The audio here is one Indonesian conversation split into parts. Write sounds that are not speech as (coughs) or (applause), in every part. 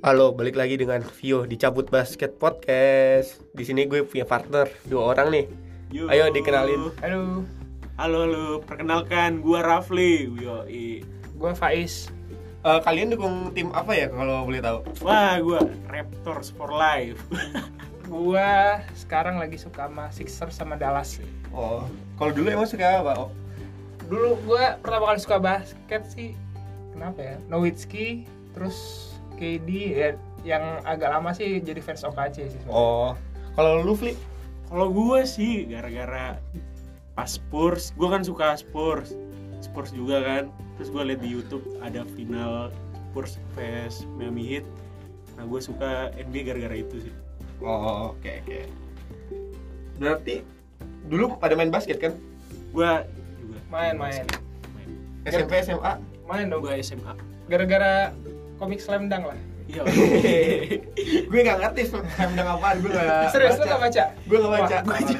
Halo, balik lagi dengan Vio di Cabut Basket Podcast. Di sini gue punya partner dua orang nih. Yo. Ayo dikenalin. Halo, Halo lu, perkenalkan gua Rafli. Yoi. gue Faiz. Eh, kalian dukung tim apa ya kalau boleh tahu? Wah, gua Raptors for life. (laughs) Gue sekarang lagi suka sama Sixers sama Dallas. Oh, kalau dulu emang suka apa? Oh, Dulu gue pertama kali suka basket sih, kenapa ya? Nowitzki, terus KD, ya, yang agak lama sih jadi fans OKC sih. sebenarnya. oh. kalau lu Fli? Kalau gua sih gara-gara pas Spurs, gua kan suka Spurs. Spurs juga kan. Terus gua lihat di YouTube ada final Spurs vs Miami Heat. Nah, gua suka NBA gara-gara itu sih. Oh, oke oke. Berarti dulu pada main basket kan? Gua juga Main, main. SMP SMA. (laughs) Main dong Gua gue. SMA. Gara-gara komik Slam Dunk lah. Iya. (laughs) gue nggak ngerti Slam Dunk apaan, gue nggak. Eh, Serius lu gak baca? Gue nggak Ah, baca. Wah,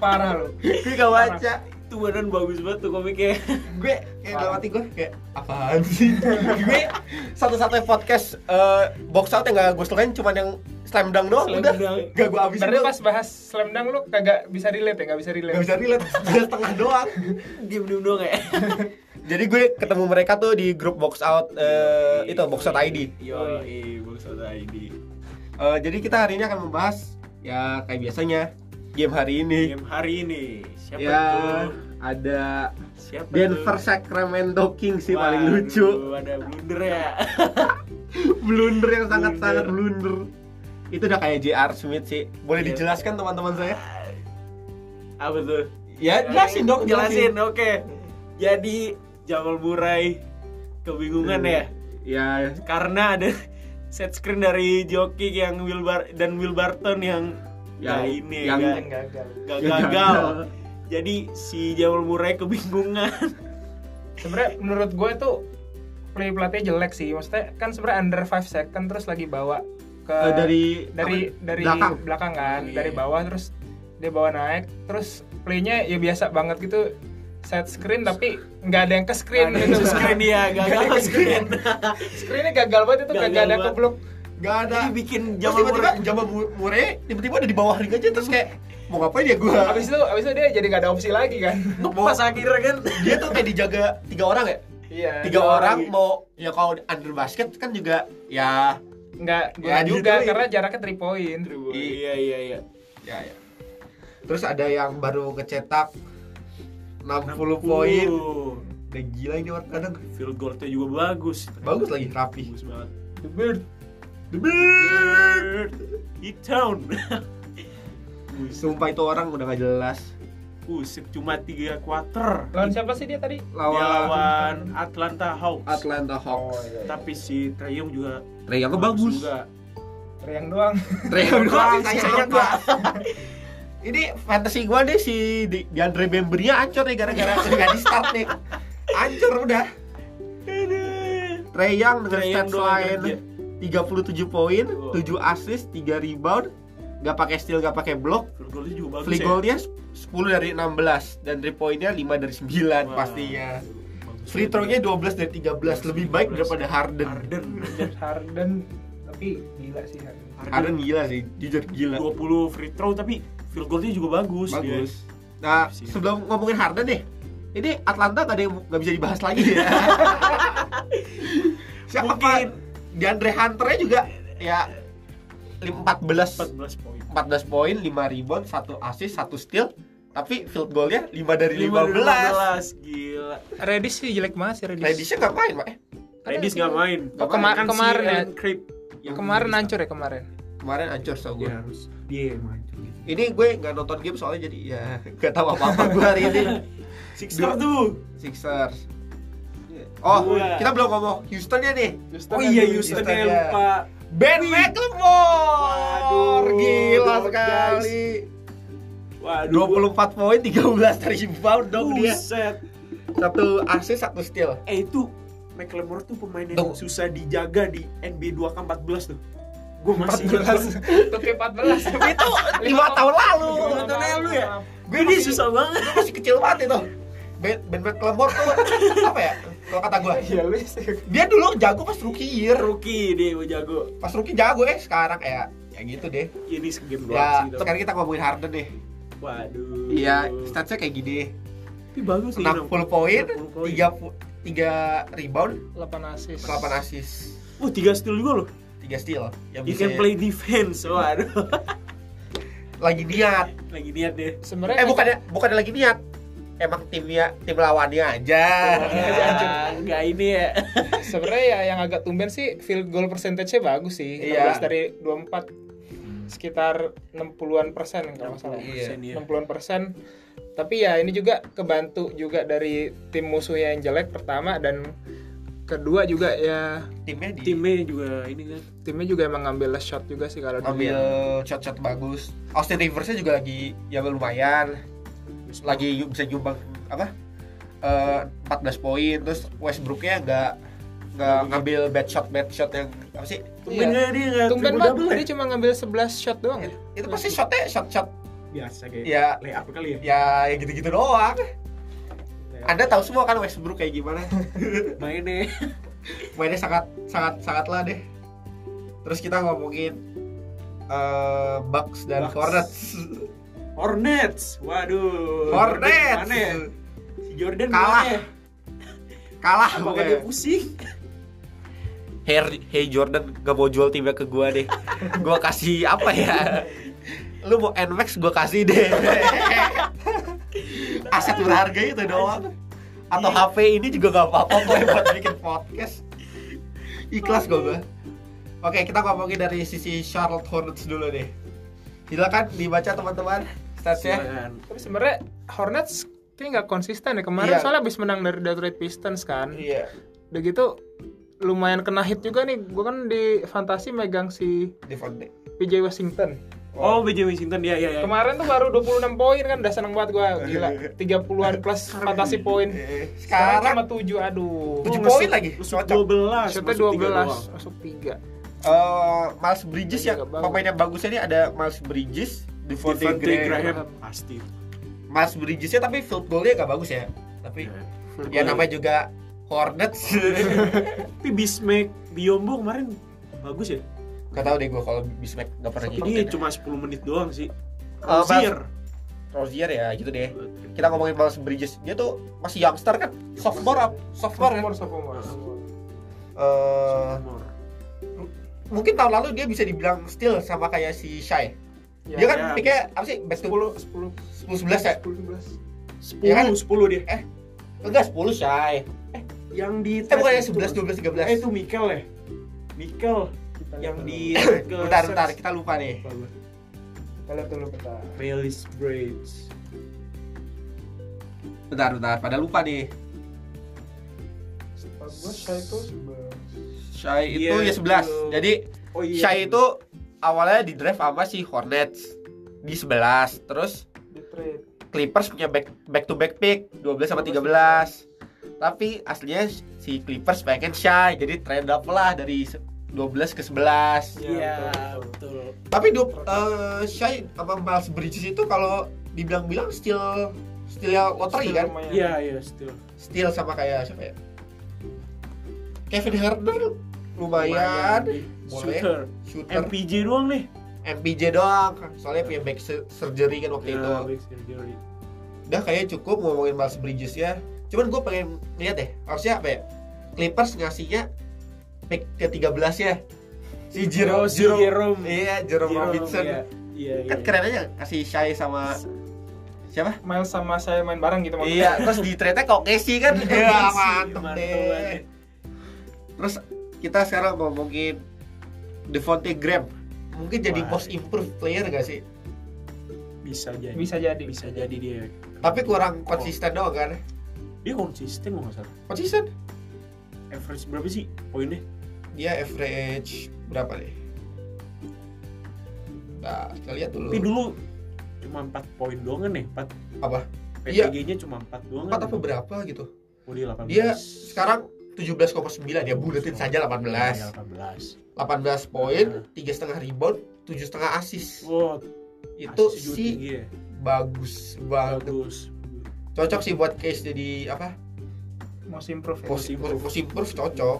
Parah lu. Gue nggak baca. itu badan bagus banget tuh komiknya. (laughs) gue kayak dalam hati gue kayak apaan sih gue satu-satunya podcast eh, box out yang gak gue selain cuman yang slam dunk doang Slam udah dunk. gak gue habisin Berarti dulu. pas bahas Slam Dunk lu kagak bisa relate ya? Gak bisa relate. gak bisa relate (laughs) udah setengah doang Diam-diam doang ya. jadi gue ketemu mereka tuh di grup box out eh, itu box out ID Yoi, box out ID. Eh, jadi kita hari ini akan membahas ya kayak biasanya game hari ini game hari ini siapa ya tuh ada siapa Denver tuh? Sacramento Kings sih paling Waduh, lucu ada blunder ya (laughs) blunder yang sangat sangat Blunder. blunder itu udah kayak JR Smith sih boleh Iya. dijelaskan teman-teman saya apa tuh Ya jelasin dong, jelasin oke jadi Jamal Murray kebingungan Hmm. ya Ya, karena ada (laughs) set screen dari Jokic yang Will Bar- dan Will Barton yang Yang- ya ini yang- nggak- Dan gagal. nggak yang gagal gagal. jadi si Jamal Murray kebingungan (laughs) sebenarnya menurut gue tuh play pelatih jelek sih maksudnya kan sebenarnya under 5 second terus lagi bawa ke eh, dari dari apa? dari belakang. belakang, kan Iya. dari bawah terus dia bawa naik terus playnya ya biasa banget gitu set screen tapi nggak ada yang ke screen Ada gitu set screen iya. dia gagal (laughs) screen screennya gagal banget itu Gagal kagak ada banget. ke blok Gak ada. jadi bikin Terus Jamal tiba-tiba Murray Jamal Bu- Murray tiba-tiba ada di bawah ring aja terus kayak mau ngapain ya gua? abis itu abis itu dia jadi nggak ada opsi lagi kan (laughs) pas akhirnya kan Dia tuh kayak dijaga tiga orang ya? iya Tiga dua orang lagi. mau ya kalau under basket kan juga ya nggak Ya, guna juga diduluin. karena jaraknya 3 point iya iya iya ya ya. Terus ada yang baru ngecetak 60, poin. Udah gila ini orang kadang Field goalnya juga bagus. bagus lagi rapi. Bagus banget. The Bird. The Bird. Hit town. (laughs) Buset, Sumpah itu orang udah gak jelas. buset, cuma tiga quarter lawan siapa sih dia tadi Dia Lawan Iya, lawan iya. Atlanta Hawks. Atlanta Hawks. Tapi si Trae Young juga Trae Young bagus. juga. yang doang Trae Young doang, Bagus, sayang sayang gua. Ini fantasi gua deh si Di- Deandre Bembria ancur nih gara-gara nggak di start nih. Ancur udah. Aduh. Trae Young dengan Trae Young stats doang lain kerja. 37 poin, 7 assist, 3 rebound, nggak pakai steal, nggak pakai block. Field goalnya juga bagus. Free ya. goal-nya 10 dari 16 dan 3 poinnya 5 dari 9 Wah. kan pastinya. Bagus Free banget. throw-nya 12 dari 13 lebih baik 12. daripada Harden. Iya. Harden. Harden tapi gila sih Harden. Harden gila sih, jujur gila. 20 free throw tapi field goalnya juga bagus. dia. bagus. Nah, Siap. sebelum ngomongin Harden deh, ini Atlanta gak ada yang nggak bisa dibahas (laughs) lagi ya. Siapa Mungkin. DeAndre Hunter-nya juga ya lim- 14 14 poin. 14 poin, 5 rebound, 1 assist, 1 steal, tapi field goalnya 5 dari 15. 15. Gila. Redis sih jelek banget sih Redis. Reddish-nya nggak main, Pak. eh. Redis nggak main. Nggak Kema- main. Kan si kemarin ya. Alan Crip Yang kemarin Reddish- hancur ya (laughs) kemarin. Kemarin hancur so gue. Iya, harus dia yang gitu. maju. Ini gue nggak nonton game soalnya jadi ya nggak tahu apa-apa gue hari ini. Dua. Sixer tuh. Sixers. Oh, Dua. kita belum ngomong Houston ya nih. Oh iya Houston Houston ya ya. lupa. Ben McLemore Waduh, Gila guys. sekali Waduh. 24 poin, 13 dari rebound dong dia Buset. Satu assist, satu steal Eh itu McLemore tuh pemain yang Tuh. susah dijaga di NBA 2K14 tuh. Gue masih 14. ingat. Tuke (laughs) 14. Itu 5 tahun lalu Iya, Iya. Lima tahun lalu ya? Gue Gue dia masih, susah banget. masih kecil banget itu Ben, ben McLemore tuh apa ya? kalau kata gua Iya lu sih. dia dulu jago pas rookie year Rookie dia gua jago. Iya, pas rookie jago eh sekarang ya ya gitu deh Ini segame doang ya sih. tapi- sekarang kita ngomongin Harden deh Waduh. iya statsnya kayak gini Tapi bagus sih. 60 poin 60 poin. 3 3 rebound 8 assist. 8 assist Wah, Oh, tiga steal juga loh. 3 steal yang You bisa ya. can play defense. Waduh. (laughs) lagi niat Lagi niat deh. Sebenarnya eh bukannya bukannya lagi niat emang timnya tim lawannya (laughs) aja Iya. Ya, Enggak ini ya. sebenarnya ya yang agak tumben sih field goal percentage-nya bagus sih. Iya. 16 dari 24 sekitar 60-an persen kalau nggak salah. Iya. 60% ya. 60-an persen. Tapi ya ini juga kebantu juga dari tim musuhnya yang jelek pertama dan kedua juga ya timnya di Timnya juga ini kan. timnya juga emang ngambil last shot juga sih kalau dulu. ambil shot-shot bagus Austin Riversnya juga lagi ya lumayan lagi yu- bisa nyumbang apa eh, 14 poin terus Westbrooknya nggak nggak ngambil bad shot bad shot yang apa sih Tumben Iya. nggak dia nggak Tumben triple banget double ya? dia cuma ngambil 11 shot doang ya. itu pasti shotnya shot shot Biasa kayak. ya Layup kali ya. ya ya gitu gitu doang anda tahu semua kan Westbrook kayak gimana mainnya. mainnya sangat sangat sangat lah deh terus kita ngomongin eh, Bucks dan Bucks. Hornets Hornets. Waduh. Hornets Mana ya? Si Jordan Kalah. mana ya? kalah Apakah dia pokoknya pusing? Hey, hey Jordan gak mau jual timnya ke gua deh Gua kasih apa ya Lu mau NMAX gua kasih deh (laughs) Aset berharga itu doang Iya. Atau HP ini juga gak apa-apa gue buat bikin podcast Ikhlas gua gua Oke kita ngomongin dari sisi Charlotte Hornets dulu deh Silakan dibaca teman-teman Statsnya Silakan. Tapi sebenarnya Hornets kayak nggak konsisten ya kemarin Iya. soalnya abis menang dari Detroit Pistons kan. Iya Udah gitu lumayan kena hit juga nih. Gue kan di fantasi megang si Devonte PJ Washington. Oh, BJ Washington ya ya ya. Kemarin tuh baru 26 poin kan udah seneng banget gua gila. 30-an plus fantasi poin. Eh, Sekarang Sekarang cuma 7 aduh. Tujuh Oh, masuk- poin lagi. Masuk Cocok. 12. Shotnya masuk tiga 12 doang. masuk 3. eh Miles Bridges ya Iya, Juga bagus. pemain yang bagusnya ini ada Miles Bridges Devonte Devontae Graham Graham pasti. Miles Bridgesnya tapi field goalnya gak bagus ya tapi ya Iya. namanya juga Hornets (laughs) Tapi Bismack Biombo kemarin bagus ya. gak tau deh gue kalau Bismack gak pernah ya. Ini ngikutin cuma 10 menit doang sih. Oh, Rozier. Rozier ya gitu deh kita ngomongin Miles Bridges dia tuh masih youngster kan sophomore up sophomore kan Sophomore sophomore. Eh, Sophomore. mungkin tahun lalu dia bisa dibilang still sama kayak si Shai Ya, dia kan ya. pikirnya apa sih best 10 10 10 11 10 ya 10 11. Iya kan? 10 dia. enggak 10 Shai Yang di eh bukan ya 11 12 13 Eh itu Mikel ya. Mikel yang di (coughs) ke bentar bentar kita lupa nih Kita lihat dulu bentar. Realis Braids. bentar bentar pada lupa nih Setahu gua saya itu Shai itu Iya, ya 11. itu. Jadi Oh iya. Shai itu awalnya di draft sama si Hornets di 11. Terus di trade. Clippers punya back back to back pick 12 Iya, sama 13. Tapi aslinya si Clippers pengen Shai, jadi trade up lah dari se- 12 ke 11. Iya, Iya, betul. Tapi du, eh, Shai sama Miles Bridges itu kalau dibilang-bilang still still yang lottery kan? Lumayan. Iya, iya, still. Still sama kayak siapa ya? Kevin Herder lumayan, Boleh. Shooter. shooter MPJ doang nih. MPJ doang soalnya punya back sur- surgery kan waktu itu Ya, back surgery. udah kayaknya cukup ngomongin Miles Bridges ya cuman gue pengen lihat deh harusnya apa ya Clippers ngasihnya pick ke 13 ya si Jerome Oh, si Jerome. iya Jerome, Robinson Iya, iya. kan iya. keren aja kasih Shai sama siapa Miles sama saya main bareng gitu maksudnya. iya terus di trade kok Casey kan iya mantep banget. deh terus kita sekarang ngomongin Devonte Graham mungkin jadi Wah. most improved player gak sih Bisa Iya. jadi. Bisa jadi. Bisa jadi dia. tapi Oh. kurang konsisten doang kan Dia konsisten nggak salah. konsisten Average berapa sih poinnya? dia average berapa deh? Nah, kita lihat dulu. Tapi dulu cuma 4 poin doang kan ya? 4 Apa? Iya. PTG-nya cuma 4 doang Empat kan? apa berapa gitu. Oh, dia 18. Dia sekarang 17,9 ya, buletin saja 18. 18. 18. 18 poin, Nah. tiga setengah rebound, tujuh setengah assist. Wow, Itu Oh, assist juga sih tinggi ya. bagus banget. bagus. Cocok sih buat case jadi apa? musim improve ya. Post improve, post improve cocok.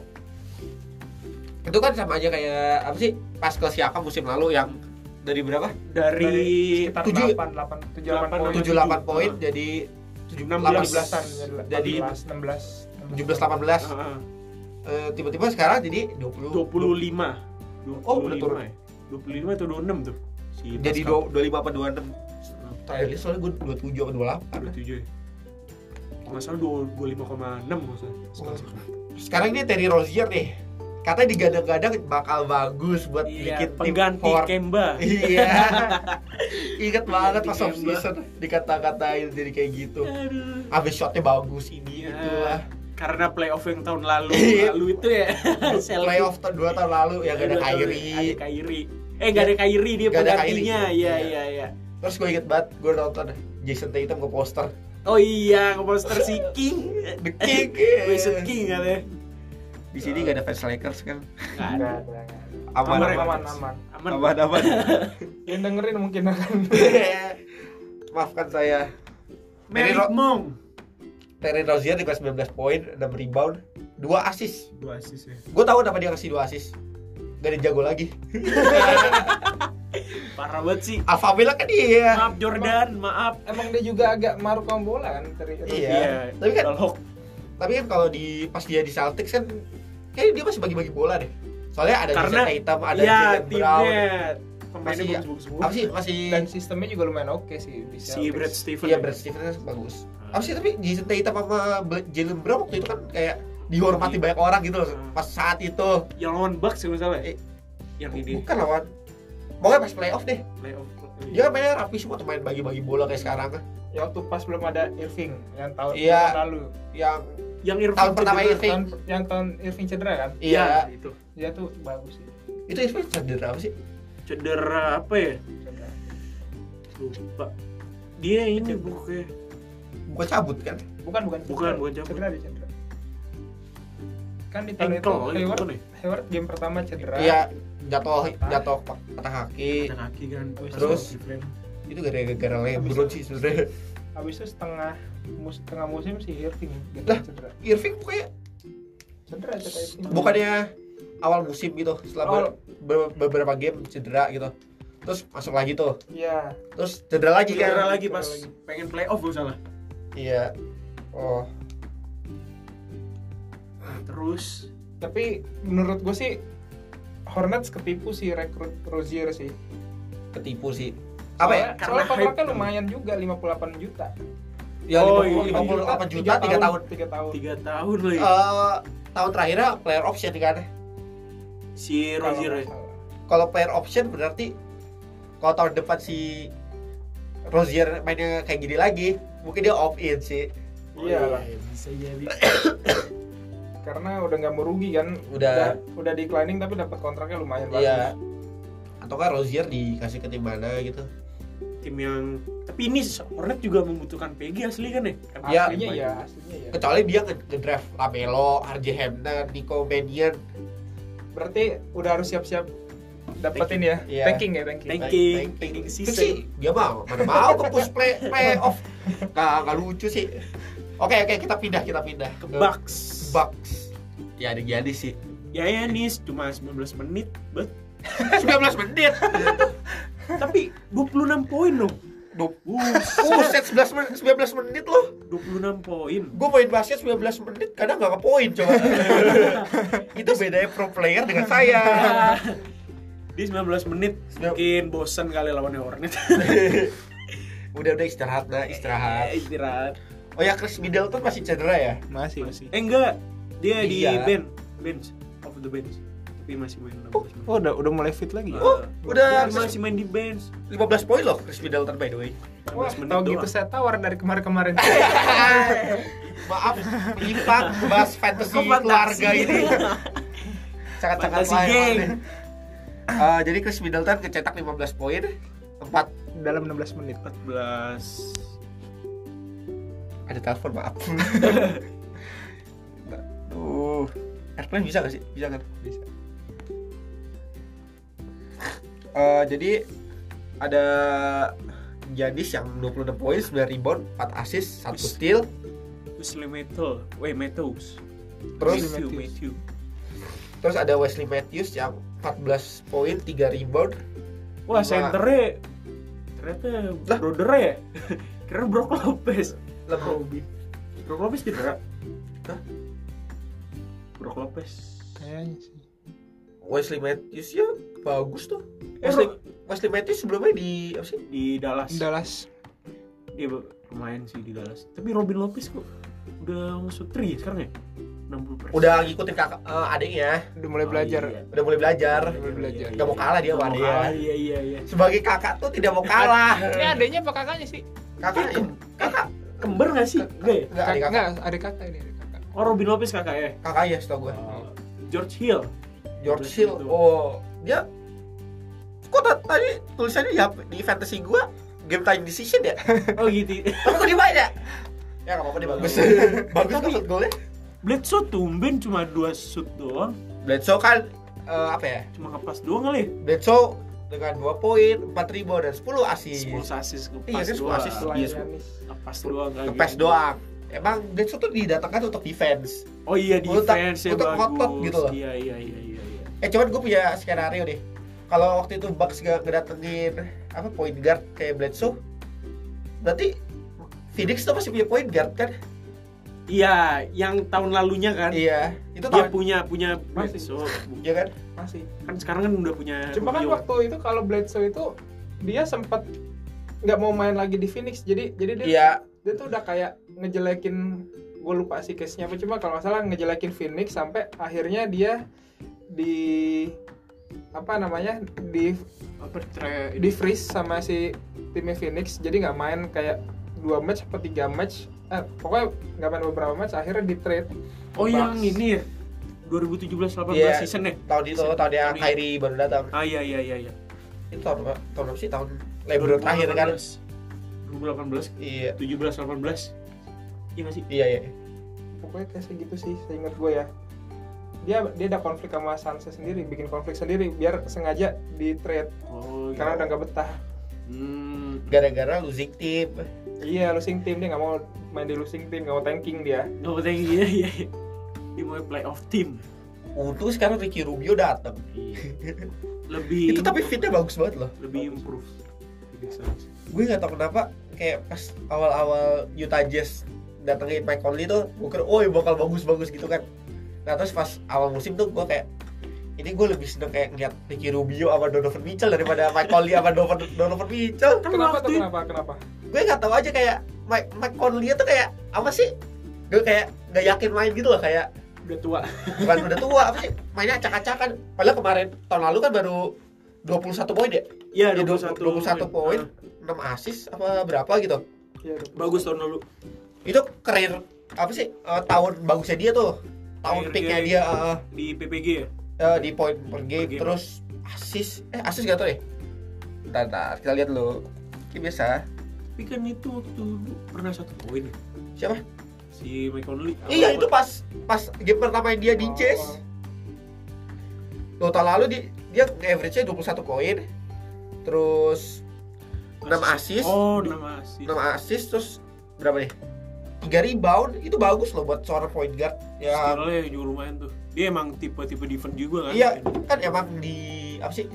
Itu kan sama aja kayak apa sih? Pas ke Siakam musim lalu yang dari berapa? dari sekitar tujuh- 8 8 7 delapan, 8 poin. tujuh. 78 poin jadi 16-an 17 jadi Jadi- 18 16 18 Heeh. Eh, tiba-tiba sekarang jadi 20 25 Oh, udah turun. 25 ya? 25 atau 26 tuh si jadi Pascal. 25 apa 26 terakhir ini soalnya gue 27 apa 28 27 ya Kalau nggak salah 25,6 nggak salah. Sekarang- sekarang. sekarang ini Terry Rozier nih katanya digadang-gadang bakal bagus buat Iya, bikin tim pengganti for Kemba iya (laughs) ingat banget pas off Pengganti season dikata-katain jadi kayak gitu Aduh. abis shotnya bagus ini Iya. itu lah karena playoff yang tahun lalu (laughs) Iya. lalu itu ya (laughs) Selfie. playoff 2 tahun lalu ya gak ada Aduh, ada Kyrie Kyrie eh gak ada Kyrie dia Nggak ada penggantinya Kyrie. iya Iya. iya iya terus gue inget banget gue nonton Jason Tatum ke poster oh iya ke poster si King (laughs) The King (laughs) Wizard King kan ya di sini gak ada fans Lakers kan Nggak ada. Nggak ada, nggak ada. aman Aman, aman aman aman aman aman, aman. (laughs) yang dengerin mungkin akan (laughs) (laughs) maafkan saya Mary Mary Ro- Mom Terry Rozier juga 19 poin 6 rebound 2 assist dua asis ya gue tahu kenapa dia ngasih 2 assist gak ada jago lagi parah banget sih Alpha Male kan dia maaf Jordan maaf emang dia juga agak maruk sama bola kan dari Iya. Tapi kan- Hawk tapi kan kalau di pas dia di Celtics kan kayaknya dia masih bagi-bagi bola deh soalnya ada Karena- Jason Tatum ada ya Jalen Brown timnya pemainnya Masih- ya. bagus-bagus semua apa sih masih dan sistemnya juga lumayan oke sih bisa si Brad Stevens iya Brad Stevens bagus apa sih tapi Jason Tatum sama Bla- Jalen Brown waktu itu kan kayak dihormati banyak orang gitu loh pas saat itu yang lawan Bucks kalau nggak salah ya? Eh, yang ini bukan lawan pokoknya pas playoff deh playoff dia kan mainnya rapi semua tuh main bagi-bagi bola kayak sekarang kan ya waktu pas belum ada Irving yang tahun Iya. tahun lalu yang yang Irving tahun pertama cedera. Irving tahun, yang tahun Irving cedera kan iya Ya, itu dia tuh bagus sih itu Irving cedera apa sih cedera apa ya cedera. lupa dia ini bukan bukan cabut kan bukan bukan Bukan, bukan cabut. cedera dia cedera kan di tahun ankle itu kali Hayward bukan ya Hayward game pertama cedera iya jatuh jatuh patah kaki Patah kaki kan Iya. Terus? itu gara-gara LeBron sih sebenarnya habis itu setengah mus setengah musim si Irving dia Lah. cedera Irving pokoknya cedera cedera Irving bukannya awal musim gitu selama Oh. be- beberapa game cedera gitu terus masuk lagi tuh iya terus cedera lagi kan cedera lagi Cedera pas lagi. pengen playoff gue salah iya oh Nah, terus tapi menurut gue sih Hornets ketipu sih rekrut Rozier sih ketipu sih apa ya Karena Soalnya kontraknya hype. kan. lumayan juga 58 juta. ya Oh, iya. 50, 58 juta 3 tahun 3 tahun. tiga tahun lagi Eh, tahun terakhirnya player option kan si Kalau Rozier nggak ya. salah. kalau player option berarti kalau tahun depan si Rozier mainnya kayak gini lagi mungkin dia opt in sih Oh, Iya lah. bisa jadi Karena udah nggak merugi kan. udah udah declining tapi dapat kontraknya lumayan iya atau kan Rozier dikasih ke tim mana gitu tim yang tapi ini Hornet juga membutuhkan PG asli kan ya bagus. Iya. Aslinya ya, aslinya ya. kecuali dia nge- ngedraft Lamelo, RJ Hampton, Nico Mannion Berarti udah harus siap-siap dapetin ya. Iya. Tanking ya, tanking. Tank- Tank- Tanking, tanking. tanking Itu season. sih dia mau mana mau ke push play playoff nggak nggak lucu sih oke oke kita pindah kita pindah ke Bucks Ke Bucks ya ada jadi sih ya ya nis cuma 19 menit bet 19 menit tapi 26 poin loh Dup. Buset, Buset, 19 menit, 19 menit loh. 26 poin Gue main basket 19 menit, kadang gak ke poin (laughs) coba. Itu bedanya pro player dengan saya. (laughs) di 19 menit Sembilan- mungkin bosan kali lawan Hornet udah udah istirahat lah, (laughs) istirahat. (laughs) istirahat Oh ya Chris Middleton masih cedera ya? Masih, eh enggak dia di Iya. bench bench off the bench tapi masih main 16 menit. Oh, udah udah mulai fit lagi Oh, udah Dia masih main di bench 15 poin loh Chris Middleton by the way. 16 Wah, menit tau doang. gitu saya tawar dari (laughs) kemarin-kemarin. Eh, Maaf, lipat bahas fantasy Kok fantasi? keluarga (laughs) ini. Sangat-sangat Fantasi lain. geng. Eh, jadi Chris Middleton kecetak 15 poin, 4 Dalam 16 menit. 14 ada telepon (laughs) maaf tuh airplane bisa gak sih bisa kan bisa Eh, jadi ada Giannis yang 26 poin, 9 rebound, 4 assist, 1 Wih. steal, Wesley Metal, Weh Meadows. Terus Iya, Matthew, Matthews. Matthew. terus ada Wesley Matthews yang 14 poin, 3 rebound. Lima. Wah senternya ternyata Lah. brother ya. (laughs) Kira Brock Lopez. Lebih Brock Lopez cedera. Hah? Brock Lopez. Kayaknya sih. Wesley Matthews ya bagus tuh. Eh, Wesley, Ro- Wesley Matthews sebelumnya di apa sih? di Dallas. Dallas. Dia Iya, lumayan sih di Dallas. Tapi Robin Lopez kok udah masuk tri sekarang ya? 60%. Udah ngikutin kakak eh, adiknya, Udah Oh, mulai belajar. iya. udah mulai belajar. Mulai belajar. Gak mau kalah dia ya. sama Gak iya, mau dia. kalah, Iya iya iya. Sebagai kakak tuh tidak mau kalah. Ini adanya apa kakaknya sih? Kakak kakak Kembar gak sih? Enggak ya? enggak adik kakak. Iya, Enggak, ada kakak ini, ada kakak. Oh Robin Lopez kakak ya? Kakak ya setahu gue. George Hill. George Terus Hill. itu. Oh, dia kok ta- tadi tulisannya di, HP di fantasy gua game time decision ya? Oh gitu. (laughs) Tapi kok dia (laughs) banyak? Ya enggak apa-apa dia bagus. bagus kok shot golnya. Bledsoe tumben cuma dua shoot doang, Bledsoe kan eh, apa ya? cuma ngepas doang kali. Bledsoe dengan 2 poin, 4 rebound dan 10 assist. 10 asis Iya, ngepas dia 10 doang. assist. Iya, Selain sep- Giannis. Ngepas doang ya. kagak. Ngepes doang. Emang Bledsoe tuh didatangkan untuk defense. Oh iya Untuk- defense ya untuk bagus. ngotot gitu loh. Iya iya iya iya. iya. Eh cuman gue punya skenario deh. Kalau waktu itu Bucks gak ngedatengin apa point guard kayak Bledsoe, berarti Phoenix tuh masih punya point guard kan? Iya, yang tahun lalunya kan. Iya, itu Dia tahun punya punya Masih. Bledsoe. ya kan? Masih. Kan sekarang kan udah punya Cuma kan Rubio. waktu itu kalau Bledsoe itu dia sempat nggak mau main lagi di Phoenix. Jadi jadi dia Iya, dia tuh udah kayak ngejelekin gue lupa sih case-nya apa cuma kalau nggak salah ngejelekin Phoenix sampai akhirnya dia di apa namanya di apa tre- di freeze sama si timnya Phoenix jadi nggak main kayak dua match atau tiga match eh, pokoknya nggak main beberapa match akhirnya di trade Oh yang Bucks. ini ya. 2017-18 Iya. season ya? tahun itu tahun yang Kyrie baru datang. Ah iya iya iya iya. Itu tahun tahun apa sih? Tahun LeBron terakhir kan? 2018, Iya, 17, 18. Iya nggak sih? iya iya. pokoknya kayak segitu sih seingat gue ya dia dia ada konflik sama Sanchez sendiri bikin konflik sendiri biar sengaja di trade Oh, karena udah iya. nggak betah Hmm. Gara-gara losing team. iya losing team dia nggak mau main di losing team nggak mau tanking dia Gak penting (laughs) iya iya. iya. Dia mau playoff team. Untung sekarang Ricky Rubio datang. Iya. lebih Itu Iya. tapi fitnya bagus banget loh. lebih improve. Lebih bagus. Gue nggak tahu kenapa kayak pas awal-awal Utah Jazz datengin Mike Conley tuh gue kira, oh bakal bagus-bagus gitu kan. Nah terus pas awal musim tuh gue kayak ini gue lebih seneng kayak ngeliat Ricky Rubio sama Donovan Mitchell daripada Mike Conley sama Donovan, Donovan Mitchell. kenapa tuh Kan waktu- kenapa kenapa gue nggak tahu aja kayak Mike, Mike Conley tuh kayak apa sih gue kayak nggak yakin main gitu loh kayak udah tua. bukan udah tua apa sih mainnya acak-acakan padahal kemarin tahun lalu kan baru 21 poin ya Iya, Jadi 21 21 poin Ah, 6 assist apa berapa gitu Iya, udah. bagus tahun lalu. itu karir apa sih eh, tahun bagusnya dia tuh tahun Karir peaknya dia dia. eh, Di PPG ya? eh, di poin per game, game. terus assist eh assist gak tau deh bentar, bentar kita lihat dulu kayak biasa Tapi kan itu waktu lu pernah satu poin ya? siapa si Mike Conley. Iya Awal- itu pas pas game pertama dia di Jazz. Tuh, tahun lalu di, dia average-nya 21 poin. Terus 6 assist. Oh, 6 assist. 6 assist terus berapa nih? 3 rebound itu bagus loh buat seorang point guard. Ya Skillnya juga lumayan tuh. Dia emang tipe-tipe defense juga kan? iya kan emang di apa sih?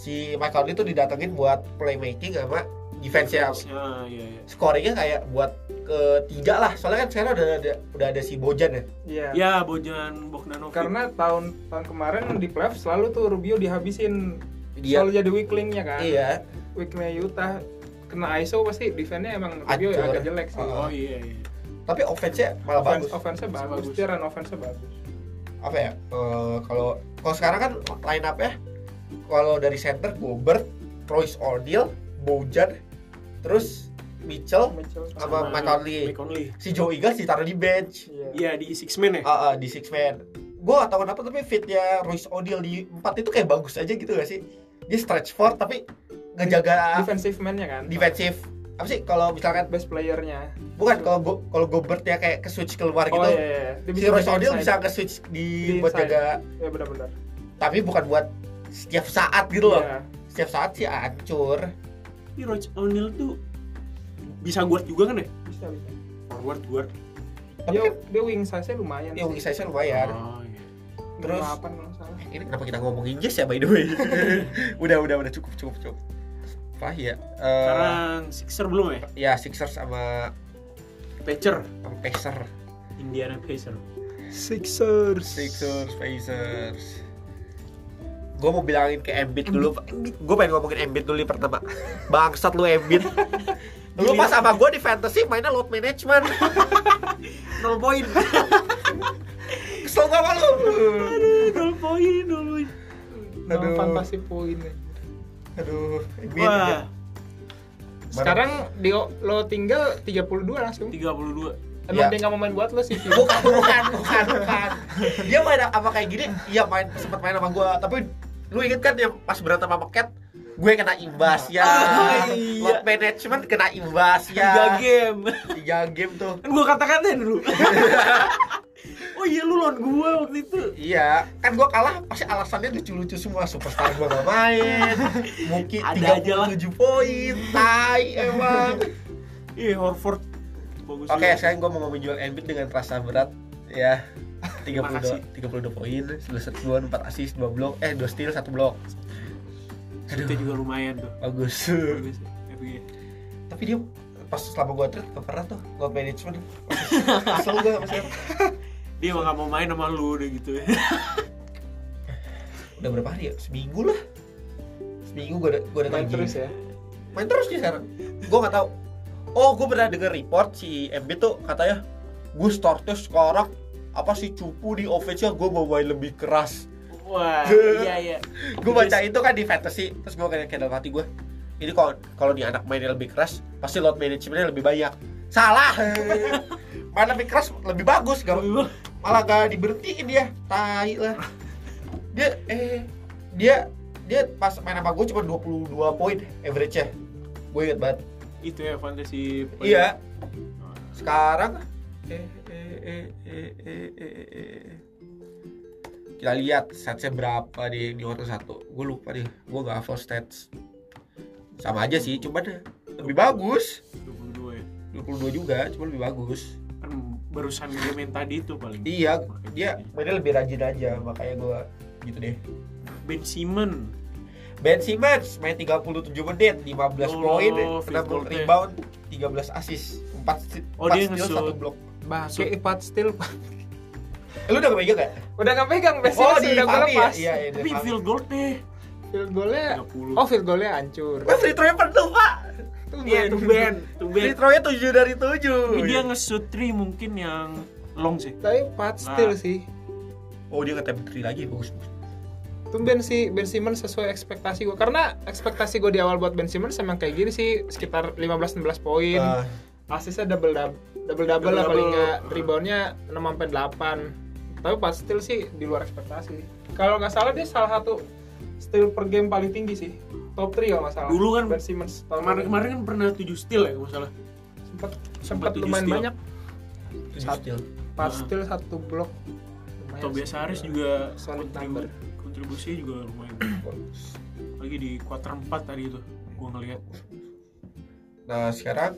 Si Michael itu didatengin buat playmaking sama defense ya. Ah, iya iya. Scoringnya kayak buat ketiga lah. Soalnya kan sekarang udah ada udah ada si Bojan ya. iya Ya, Bojan Bogdanovic. karena tahun tahun kemarin di playoff selalu tuh Rubio dihabisin Dia selalu jadi weaklingnya kan iya. weaknya Utah kena ISO pasti defense-nya emang Rubio Hancur. agak jelek sih Oh, Oh iya iya. Tapi offense-nya malah offense, bagus. offense-nya bagus, Bagus. dia run offense-nya bagus apa ya eh, kalau kalau sekarang kan line up ya kalau dari center Gobert, Royce O'Neal, Bojan, terus Mitchell, Mitchell kan. Apa, Mike Conley? Mike Conley. si Joe Eagles ditaruh di bench Iya. Iya, di six man ya? Ah, ah, di six man. Gue gak tau kenapa tapi fitnya Royce O'Neal di empat itu kayak bagus aja gitu gak sih? Dia stretch four tapi ngejaga defensive man-nya kan defensif apa sih kalau misalkan best player-nya Gitu. bukan kalau Go- kalau Gobert ya kayak ke switch keluar gitu oh iya, iya, iya. Dia si Royce main O'Neal inside. bisa ke switch di, Di buat inside. jaga iya benar-benar tapi bukan buat setiap saat gitu loh Iya. setiap saat sih hancur Tapi Royce O'Neal tuh bisa guard juga kan ya? bisa bisa Forward guard. Tapi kan, dia dia wing size nya lumayan ya wing sih. size lumayan. Oh, iya. terus- 58 kalau nggak salah Ini kenapa kita ngomongin Jazz ya by the way? (laughs) udah udah udah cukup cukup cukup. Apa ya? Eh, Sekarang Sixer belum ya? ya Sixers sama Pacer, sama Pacers, Indiana Pacer. Sixers Sixers, Pacers. Gue mau bilangin ke Embiid dulu. Gue pengen ngomongin Embiid dulu nih pertama. Bangsat lu (laughs) Embiid. Lu pas sama gue di fantasy mainnya load management. Nol poin. Kesel gak sama lu? (laughs) Nol poin, nol poin. Aduh. fantasi poin nih. Aduh, Embiid. Wah, sekarang di lo tinggal 32 langsung 32. Ya. emang dia nggak mau main buat lo sih Vio? bukan bukan bukan (laughs) bukan dia main apa kayak gini iya main sempat main sama gue tapi lu inget kan dia pas berantem sama Cat gue kena imbas ya Ah, iya. load management kena imbas ya Tiga game. (laughs) tiga game tuh Kan gua kata-katain dulu. oh iya lu lawan gua waktu itu. Iya, kan gue kalah pasti alasannya lucu-lucu semua Superstar gue gak main Muki Ada aja lah. 37 poin Tai emang Iya, Horford bagus. Oke, juga. sekarang gue mau menjual Embiid dengan rasa berat ya. 32, Makasih. 32 poin, 11 serbuan, 4 assist, 2 blok, eh 2 steal, 1 blok. Shotnya juga lumayan tuh. Bagus. Bagus. FG. Tapi dia pas selama gue trade gak pernah tuh load management. Kesel gue maksudnya. Dia emang gak mau main sama lu udah gitu ya. Udah berapa hari ya? Seminggu lah. Seminggu gue udah gue main terus ya Main terus dia sekarang. Gue gak tahu. Oh, gue pernah denger report si MB tuh katanya gue startnya sekarang apa sih cupu di offense-nya gue mau main lebih keras Wah, iya iya. gue baca itu kan di fantasy terus gue kayak kayak dalam hati gue ini kalau kalau di anak mainnya lebih keras pasti load managementnya lebih banyak (laughs) salah main lebih keras lebih bagus gak, Lebih bang- malah gak diberhentiin dia tai lah dia eh dia dia pas main sama gue cuma 22 poin average nya gue inget banget Itu ya fantasi. iya sekarang eh eh eh eh eh eh, eh, eh. kita lihat statsnya berapa di di quarter satu gue lupa deh gue gak hafal stats sama aja sih cuman ya, lebih bagus 22 ya. 22 juga cuma lebih bagus Kan barusan game yang tadi itu paling. iya Makanya dia mainnya lebih rajin aja makanya gue gitu deh Ben Simon Ben Simmons main 37 menit 15 Oh, poin 60 fifth ball-nya. rebound 13 assist 4 Oh, dia nge-shoot. steal 1 blok Bangke empat still Eh, lu udah kepegang gak? udah nggak pegang basic udah gue Fami ya? lepas Iya, iya, di tapi Fami. field goal deh field goalnya 30 oh field goalnya hancur Wah, free throw-nya penuh, Pak. tuh iya tuh Ben tuh Free Ben throw-nya 7 dari 7. tapi dia nge-shoot 3 mungkin yang long sih tapi empat Nah. still sih Oh, dia ngetap 3 lagi, bagus. Tumben sih Ben Simmons sesuai ekspektasi gue karena ekspektasi gue di awal buat Ben Simmons emang kayak gini sih sekitar 15-16 poin Ah, asisnya double double double double Double-double. lah paling nggak reboundnya 6 sampai 8 tapi pas steal sih di luar ekspektasi kalau nggak salah dia salah satu steal per game paling tinggi sih top 3 kalau nggak salah Dulu kan Ben Simmons tahun kemarin kemarin kan pernah 7 steal ya kalau nggak salah sempat sempat sempat tujuh lumayan steal. banyak Satu. pas Ah. steal satu blok Lumayan Tobias sih. Harris juga Iya, Solid kontribu- number. kontribusinya juga lumayan lagi di kuarter 4 tadi itu gua ngeliat Nah, sekarang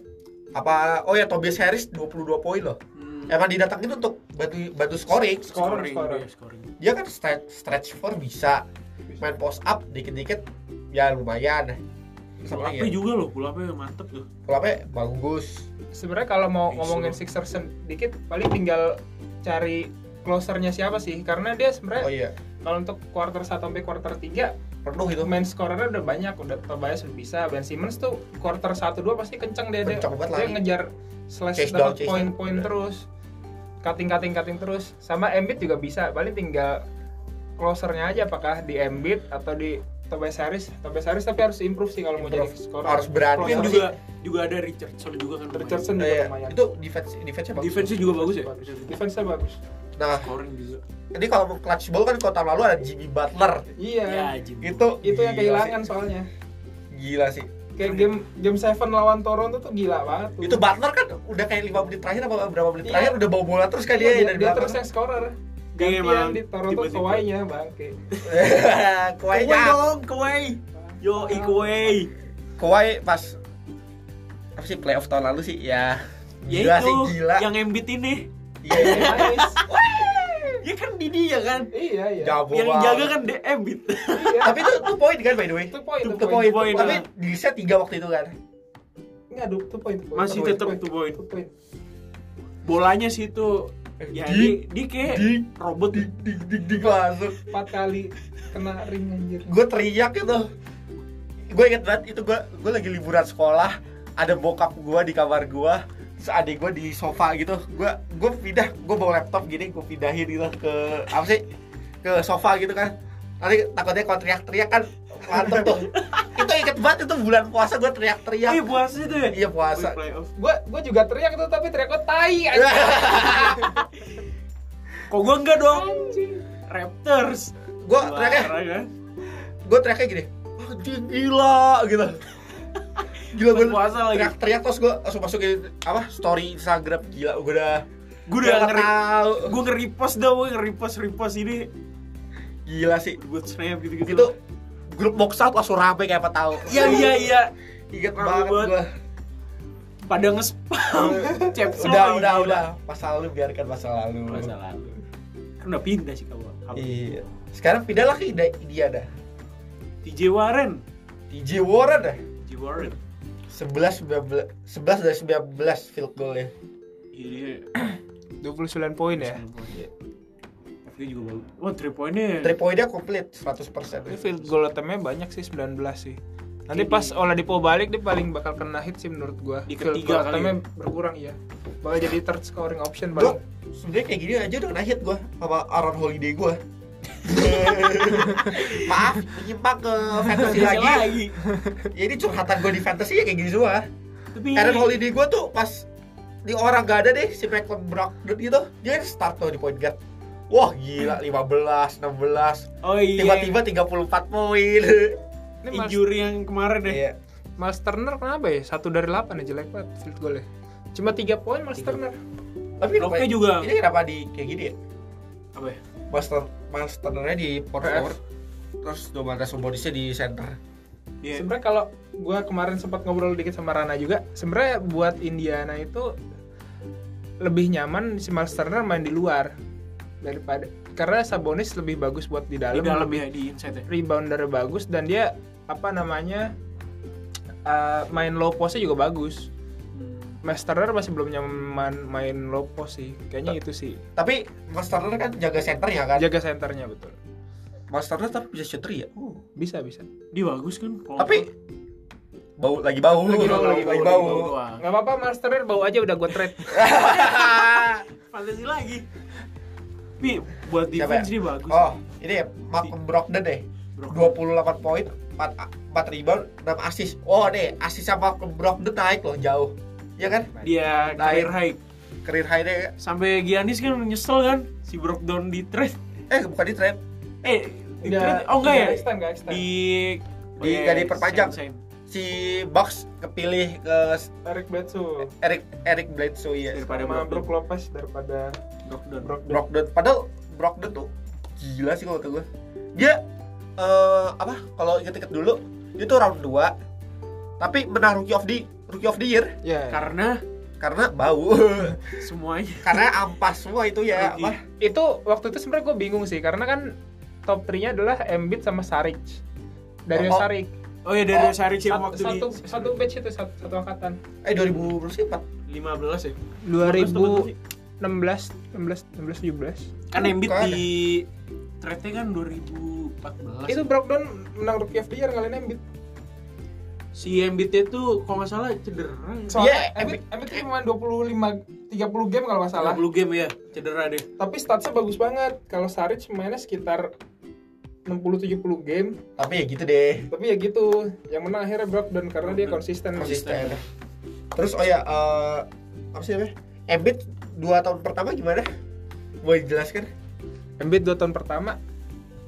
apa oh ya Tobias Harris 22 poin loh. hmm, Emang didatangin untuk bantu bantu scoring. scoring, dia, scoring. iya, scoring. Dia kan stretch stretch four bisa main post up dikit-dikit ya lumayan. pull Sama ya. up-nya juga loh pull up-nya mantep tuh Pulapnya bagus. sebenarnya kalau Isu. mau ngomongin Sixers sedikit paling tinggal cari closernya siapa sih karena Oh dia sebenarnya iya, kalau untuk quarter 1 sampai quarter 3 penuh itu. main scorernya udah banyak udah Tobias udah bisa Ben Simmons tuh quarter 1 2 pasti kenceng dia dia, Kenceng banget dia lari. ngejar slash Chase down, dapat chase poin-poin terus cutting cutting cutting terus sama Embiid juga bisa paling tinggal closernya aja apakah di Embiid atau di Tobias Harris Tobias Harris tapi harus improve sih kalau mau jadi Improve. scorer Harus berani. Tapi Closer juga juga ada Iya. Richardson juga kan lumayan. Richardson juga Eh, lumayan itu defense defense-nya bagus. defense-nya juga bagus ya bagus defense-nya bagus Nah, scoring juga ini kalau mau clutch ball kan kota lalu ada Jimmy Butler. ya iya iya Jimmy. Itu itu yang gila kehilangan sih. soalnya Gila sih. kayak game game seven lawan Toronto tuh gila banget tuh. itu Butler kan udah kayak 5 menit terakhir apa berapa menit Iya. terakhir udah bawa bola terus kan dia, Iya, dia, dari dia belakang. ya. terus yang scorer Dia Iya, emang gantian Iya, di Toronto tipe-tipe. Kawhi-nya bangke (laughs) Kawhi ya. Kawhi nya dong, Kawhi. Yo, i Kawhi. Kawhi pas apa sih playoff tahun lalu sih ya Ya gila itu sih gila yang Embiid ini. Iya, iya. Nice. Ya kan di dia kan. Iya, iya. Jago yang banget. jaga kan DM gitu. Iya. Tapi itu tuh poin kan by the way. itu poin, Itu itu Itu poin. poin. Two point, Tapi ah. di set 3 waktu itu kan. Enggak, du- itu poin, itu poin. Masih Itu tetap poin, tuh poin. itu poin. (laughs) Bolanya sih itu ya Eh, Di- di, di kayak di- robot Dik dik dik dik langsung. Empat kali kena ring anjir. Gue teriak itu. Gue inget banget itu gue gue lagi liburan sekolah. Ada bokap gue di kamar gue. Terus adik gue di sofa gitu. Gue gue pindah. Gue bawa laptop gini. Gue pindahin gitu ke apa sih? Ke sofa gitu kan. Nanti takutnya kalau teriak-teriak kan mantep tuh. itu inget banget itu bulan puasa gue Eh teriak-teriak. puasa itu ya. Iya puasa. Playoff. Gue gue juga teriak itu tapi teriak gue tai anjir. (laughs) Kok gua enggak dong? Anjing. Raptors. Gue teriaknya Juara kan? gue teriaknya gini anjing gila gitu gila gue Pas puasa lagi. teriak-teriak terus gue langsung masukin apa story Instagram gila gue udah Gua udah nggak ngeri. tahu Gua nge-repost dah, gua nge-repost repost ini gila sih buat snap gitu-gitu. itu grup box out langsung rame kayak apa tahu Iya iya iya. inget Rame banget banget. gue Pada nge-spam. (laughs) Caps udah lock, udah gila. udah masa lalu biarkan masa lalu Masa lalu. Kan udah pindah sih kamu. iya sekarang pindahlah ke Ida- dia dah TJ gitu. Warren. TJ Warren dah TJ Warren. 11 19 11 dari 19 field goal ya Iya. 29 poin Iya. ya. FK Iya. juga bagus. Oh, Wah, 3 poinnya. 3 poinnya komplit 100% Ini field goal attempt-nya banyak sih 19 sih. Nanti pas Oladipo balik dia paling bakal kena hit sih menurut gua. Di Field ketiga goal kali attempt-nya berkurang ya. Bakal jadi third scoring option Bro, paling. sebenarnya kayak gini aja udah kena hit gue sama Aaron Holiday (laughs) gue. Maaf, menyimpang ke fantasy Sisi lagi. Ya ini curhatan gue di fantasy ya kayak gini semua. Tapi Aaron Holiday gue tuh pas di orang gak ada deh si Franklin Brockton gitu, dia kan start tuh di point guard. Wah gila 15, 16, Oh iya. tiba-tiba 34 (laughs) poin. Ini Miles, injury yang kemarin deh. Iya. Miles Turner kenapa ya? 1 dari 8 ya jelek banget field goal-nya. Cuma 3 poin Miles Tiga. Turner. Tapi kenapa, Bloknya juga ini kenapa di kayak gini ya? apa ya? Master, masternya di port PF. forward, terus Domantas Sabonisnya di center. Iya. Sebenarnya kalau gua kemarin sempat ngobrol dikit sama Rana juga, sebenarnya buat Indiana itu lebih nyaman si Miles Turner main di luar daripada karena Sabonis lebih bagus buat di Di dalam, dalam lebih ya di inside ya. rebounder bagus dan dia apa namanya eh, main low post juga bagus. Hmm. Miles Turner masih belum nyaman main low post sih. Kayaknya itu sih. Tapi Master kan jaga center ya kan? Jaga senternya betul. Masternya tapi bisa shooter ya. Bisa bisa. Dia bagus kan. kalau- Tapi bau lagi bau Lagi bau, lagi, lagi bau. doang. Gak apa-apa Miles Turner bau aja udah gua trade. Fantasi lagi. Tapi buat Siapa defense ya? dia bagus. oh, ini ya, Malcolm Brogdon deh. Bro. 28 poin, 4 a- 4 rebound, 6 assist. Oh, deh, assist sama Malcolm Brogdon naik loh jauh. Iya kan? Dia career high. Career high-nya ya. Sampai Giannis kan nyesel kan si Brogdon di trade. eh bukan di trade, Eh, di trade. Oh enggak ya? Extend, nggak extend. Di Iya, Di- nggak diperpanjang. Same, same. si Box kepilih ke Tarik Bledsoe. Eric Eric Bledsoe ya. Daripada sama Brogdon. Brook Lopez daripada Brogdon. Brook Lopez. Brogdon padahal Brogdon tuh gila sih kalau kata gue dia eh, apa kalau inget-inget dulu dia tuh round 2 tapi menang rookie of the rookie of the year Ya. Karena karena bau (laughs) semuanya karena ampas semua itu ya Rookie. apa Itu waktu itu sebenarnya gue bingung sih karena kan top 3-nya adalah Embiid sama Saric. Dari Oh, oh. Saric. Oh iya dari Oh, Sari sih Satu, waktu di satu, satu batch itu satu, satu angkatan. eh 2000 berapa sih 4 15 ya. 2016 16 16 17. kan Embiid Bukan. ya? di trade kan 2014 Itu Brogdon menang Rookie of the Year kali ini Embiid. si Embiidnya tuh kalau nggak salah cedera ya? Soalnya Iya, Embiid Embiid tuh cuma 25 30 game kalau nggak salah. 30 game ya cedera deh Tapi statsnya bagus banget. Kalau Saric mainnya sekitar 60 70 game, tapi ya gitu deh tapi ya gitu. Yang menang akhirnya Brogdon karena dia konsisten. konsisten terus oh ya eh, apa sih namanya Embiid 2 tahun pertama gimana mau dijelaskan Embiid dua tahun pertama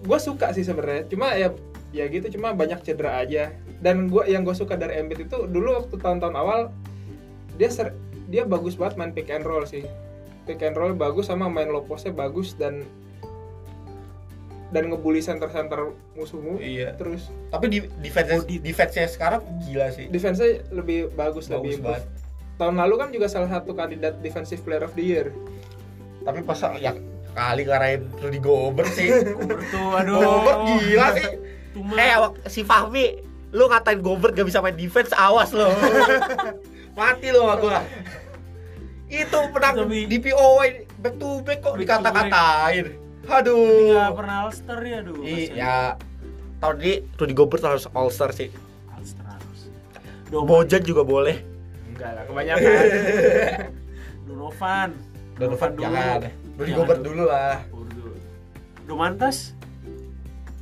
gue suka sih sebenarnya cuma ya ya gitu cuma banyak cedera aja dan gua yang gue suka dari Embiid itu dulu waktu tahun-tahun awal dia ser- dia bagus banget main pick and roll sih pick and roll bagus sama main low postnya bagus dan dan ngebully center-center musuhmu iya terus tapi Oh, di defense defense-nya sekarang gila sih defense-nya lebih bagus, bagus lebih banget improve. tahun lalu kan juga salah satu kandidat defensive player of the year tapi pas ya kali ngarahin Rudy Gobert (laughs) sih Gobert tuh (laughs) aduh Gobert gila sih Cuma eh wak- si Fahmi lu ngatain Gobert gak bisa main defense awas lo mati lo sama gua itu menang Tapi- di POW back to back kok Back to dikata-katain nggak aduh pernah Alster ya aduh kasihan. iya tahun ini Rudy Gobert harus All Star sih Alster harus Bojan juga boleh Enggak lah, kebanyakan. Donovan Donovan dulu. jangan Rudy Jangan Gobert dulu. dulu lah Gobert dulu. Domantas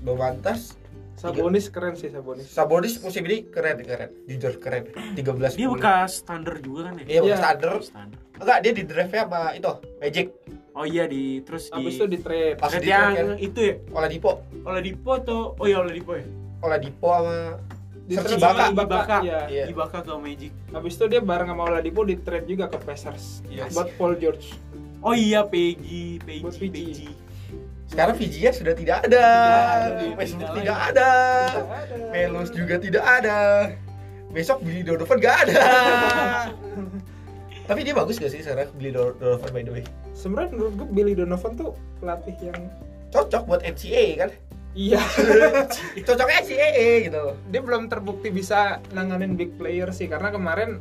Domantas (laughs) Sabonis keren sih Sabonis. Sabonis musim ini keren keren jujur keren 13 dia bekas standar juga kan ya Iya, Iya. bekas under. standar Enggak, dia di draft nya sama itu, Magic. oh iya di terus di Habis itu di trade. Pas Terus di yang trade itu ya Oladipo, Oladipo atau oh iya Oladipo ya Oladipo sama Di Serge trade Ibaka. sama Ibaka. Ibaka. Iya. Iya. Ibaka ke Magic Habis itu dia bareng sama Oladipo di trade juga ke Pacers. Iya Buat Paul George. oh iya Peggy Peggy Buat Peggy. Peggy sekarang Fiji nya sudah tidak ada. Tidak ada, Facebook tidak tidak lagi. ada. Ada. Pelos juga tidak ada. Besok Billy Donovan gak ada. Tapi dia bagus gak sih sekarang Billy Don- Donovan by the way? Sebenarnya menurut gue Billy Donovan tuh pelatih yang Cocok buat NCAA kan? iya, (laughs) Cocok NCAA gitu. dia belum terbukti bisa nanganin big player sih karena kemarin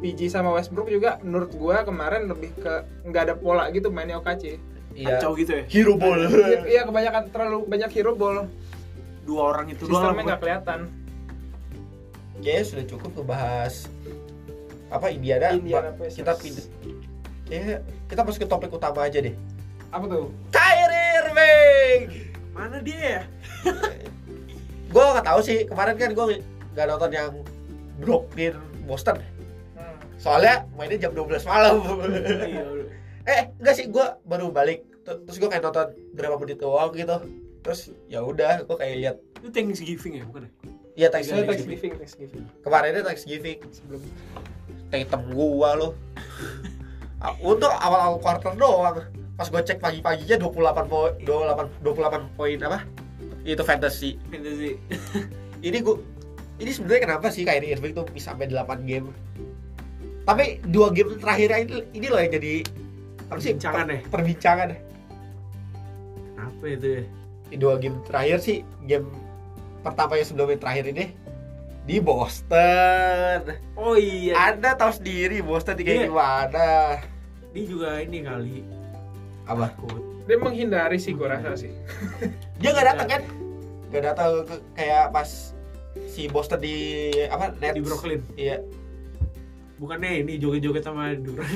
PG sama Westbrook juga menurut gua kemarin lebih ke nggak ada pola gitu mainnya (laughs) OKC. Iya. kacau gitu ya Hero ball. Iya- Iya kebanyakan terlalu banyak hero ball. dua orang itu doang Sistemnya nggak kelihatan. Kayaknya sudah cukup ngebahas apa Indiana, Indiana Ba- Pacers. kita pindah kayaknya kita masuk ke topik utama aja deh Apa tuh? Kyrie Irving mana (laughs) dia ya gue gak tahu sih kemarin kan gue gak nonton yang Brooklyn Boston Hmm. soalnya mainnya jam 12 (laughs) malam Iya, udah. eh enggak sih gue baru balik Ter- terus gue kayak nonton berapa menit doang gitu terus ya udah gue kayak lihat itu Thanksgiving ya bukan ya Iya Thanksgiving. Saya Thanksgiving, Thanksgiving Kemarinnya Thanksgiving. sebelum. Tatum gua loh. Ah, Untuk awal-awal quarter doang. Pas gua cek pagi-paginya 28 poin 28 28 poin apa? Itu fantasy. fantasy Ini gua ini sebenarnya kenapa sih Kyrie Irving tuh bisa sampai 8 game? Tapi dua game terakhir ini, ini loh yang jadi apa sih? Perbincangan ya? Perbincangan. kenapa itu ya Di Dua game terakhir sih, game pertama yang sebelum yang terakhir ini di Boston. oh iya Anda tahu sendiri Boston di kayak Iya. gimana. dia juga ini kali Apa? takut Dia menghindari sih gua rasa sih. dia nggak datang kan nggak datang ke- kayak pas si Boston di apa Nets di Brooklyn iya bukannya ini joget-joget sama Duran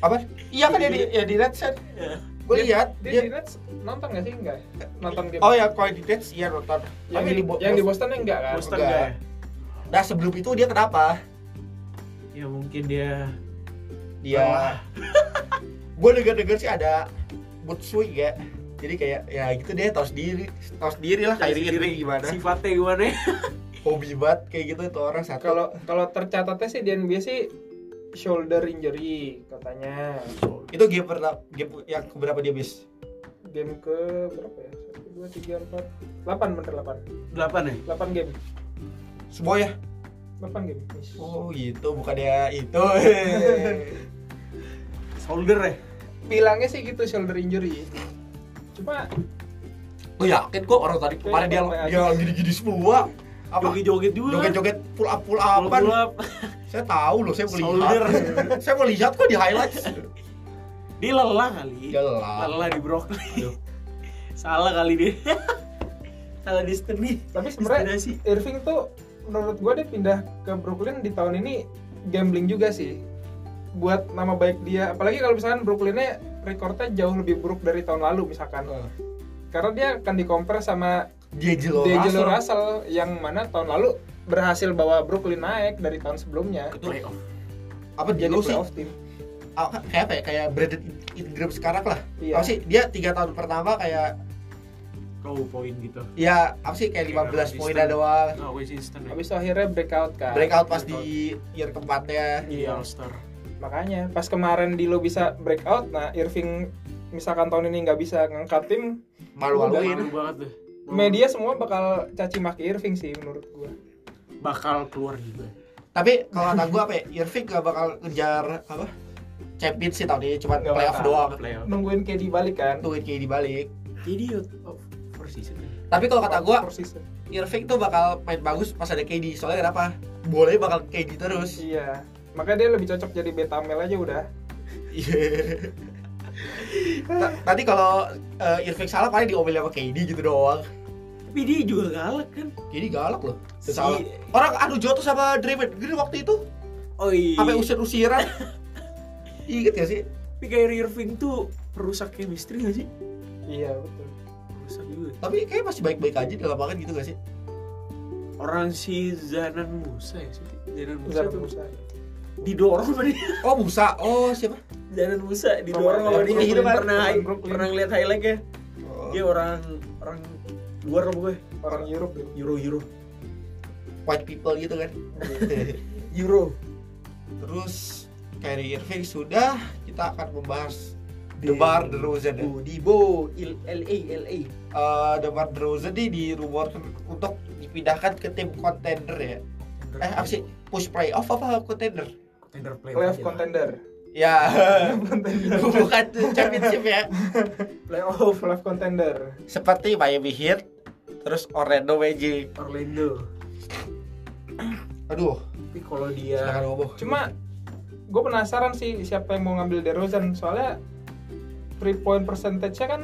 apa iya kan dia di ya di Nets kan Iya. gue lihat Dia dia- di Nets nonton nggak sih enggak? Nonton game. oh ya kalau di Nets iya nonton yang, tapi di, di, Bo- yang di Boston enggak kan? Boston enggak. enggak ya nah sebelum itu dia kenapa ya mungkin dia dia (laughs) gue dengar-dengar sih ada mood swing ya jadi kayak ya gitu deh tahu sendiri tahu sendiri lah kayak Sendiri. gimana sifatnya gimana ya hobi banget kayak gitu tuh orang satu Kalau kalau tercatatnya sih di NBA sih shoulder injury katanya. itu game pertama game yang keberapa dia miss Game ke berapa ya? 1 2 3 4 8 bener 8. delapan ya 8 game. semua ya 8 game. Miss. oh gitu bukannya itu shoulder ya (laughs) Bilangnya sih gitu shoulder injury. Cuma Gue yakin kok orang tadi kemarin dia dia gini-gini semua. Apa joget-joget juga joget-joget pull up pull Bola upan. gelap. Saya tahu loh, saya melihat. Soldier. (laughs) saya melihat kok di highlights. dia lelah kali Jelas. lelah di Brooklyn Aduh. (laughs) salah kali dia (laughs) salah distance nih tapi sebenarnya Destinasi. Irving tuh menurut gue dia pindah ke Brooklyn di tahun ini gambling juga sih buat nama baik dia apalagi kalau misalkan Brooklynnya rekornya jauh lebih buruk dari tahun lalu misalkan karena dia akan dikompar sama Dia jelas. D'Angelo Russell yang mana tahun lalu berhasil bawa Brooklyn naik dari tahun sebelumnya ke playoff Apa dia jadi lu sih? playoff team Apa- Kayak apa ya? Kayak Brandon In- Ingram sekarang lah. iya Apa sih? Dia tiga tahun pertama kayak low point gitu ya apa sih kayak 15 poin ada doang. no instant ya habis itu akhirnya breakout kan Breakout pas di year keempatnya. ya. Iya. jadi all star makanya pas kemarin di lo bisa breakout nah Irving misalkan tahun ini nggak bisa ngangkat tim Malu-maluin. banget deh media semua bakal caci maki Irving sih menurut gua bakal keluar juga Tapi kalau kata gue apa ya? Irving gak bakal ngejar apa? Champions sih tahun ini cuma Nggak playoff bakal. doang. playoff nungguin KD balik kan Tuh kayak dibalik. jadi of four season Tapi kalau kata gua Four season. Irving tuh bakal main bagus pas ada KD. Soalnya kenapa? Bolanya bakal KD terus. iya makanya dia lebih cocok jadi beta male aja udah Iya. Ta- (laughs) Tadi kalau eh, Irving salah paling diomelin sama KD gitu doang. tapi dia juga galak kan KD galak loh. Dia salah. Orang adu jotos sama Draymond Green waktu itu oh iya sampai (laughs) usir-usiran. Ingat gak sih? tapi Kyrie Irving tuh perusak chemistry gak sih iya betul perusak juga Tapi kayak masih baik-baik aja di lapangan gitu (laughs) gak sih? orang si Zanan Musa ya sih Zanan Musa Zara tuh Musa. didorong sama dia Oh Musa, oh siapa? Zanan Musa didorong sama Brooklyn, dia Hidup Brooklyn, pernah Brooklyn. pernah ngeliat highlightnya Oh, dia orang orang luar apa gue orang Europe gitu Euro Euro White people gitu kan. Euro (laughs) Terus Kyrie Irving sudah, kita akan membahas DeMar DeRozan. ya. Bo Dibo Il- LA LA Eh, DeMar DeRozan nih dirumorkan untuk dipindahkan ke tim contender ya. Eh apa sih? Push playoff apa contender? Contender playoff playoff aja lah. contender (laughs) Ya, contender bukan championship ya. playoff playoff contender Seperti Miami Heat, terus Orlando Magic. Orlando Aduh, tapi kalau dia silakan ngomong. cuma gue penasaran sih siapa yang mau ngambil DeRozan soalnya three point percentage-nya kan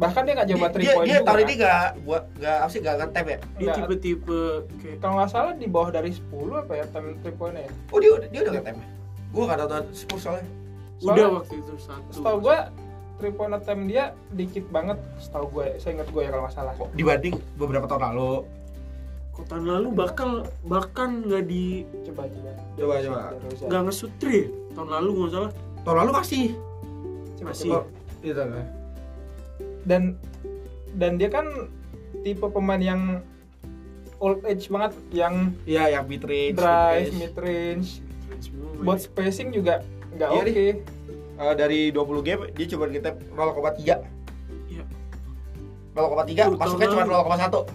bahkan dia nggak dia, coba three dia, point dia juga tahun kan. ini gak buat gak apa sih gak ngetem ya? dia Nggak. tipe-tipe kayak kalau nggak salah di bawah dari 10 apa ya time three point-nya ya Oh dia dia udah ngetem ya? Gue gak nonton Spurs soalnya. udah Soalnya- waktu itu satu setahu gue three point attempt dia dikit banget setahu gue saya ingat gue ya kalau nggak salah Kok dibanding beberapa tahun lalu? Kok tahun lalu bakal bahkan nggak di coba coba Coba coba. DeRozan. nggak ngesutri tahun lalu nggak salah Tahun lalu masih. Coba, masih. coba. Gitu kan. dan dan dia kan tipe pemain yang old age banget yang Iya yang mid range. drive mid range buat spacing juga nggak Iya, oke Eh, dari 20 game dia cuma ngetem 0,3. Iya. 0,3 Tuh, masuknya tahun cuma lalu.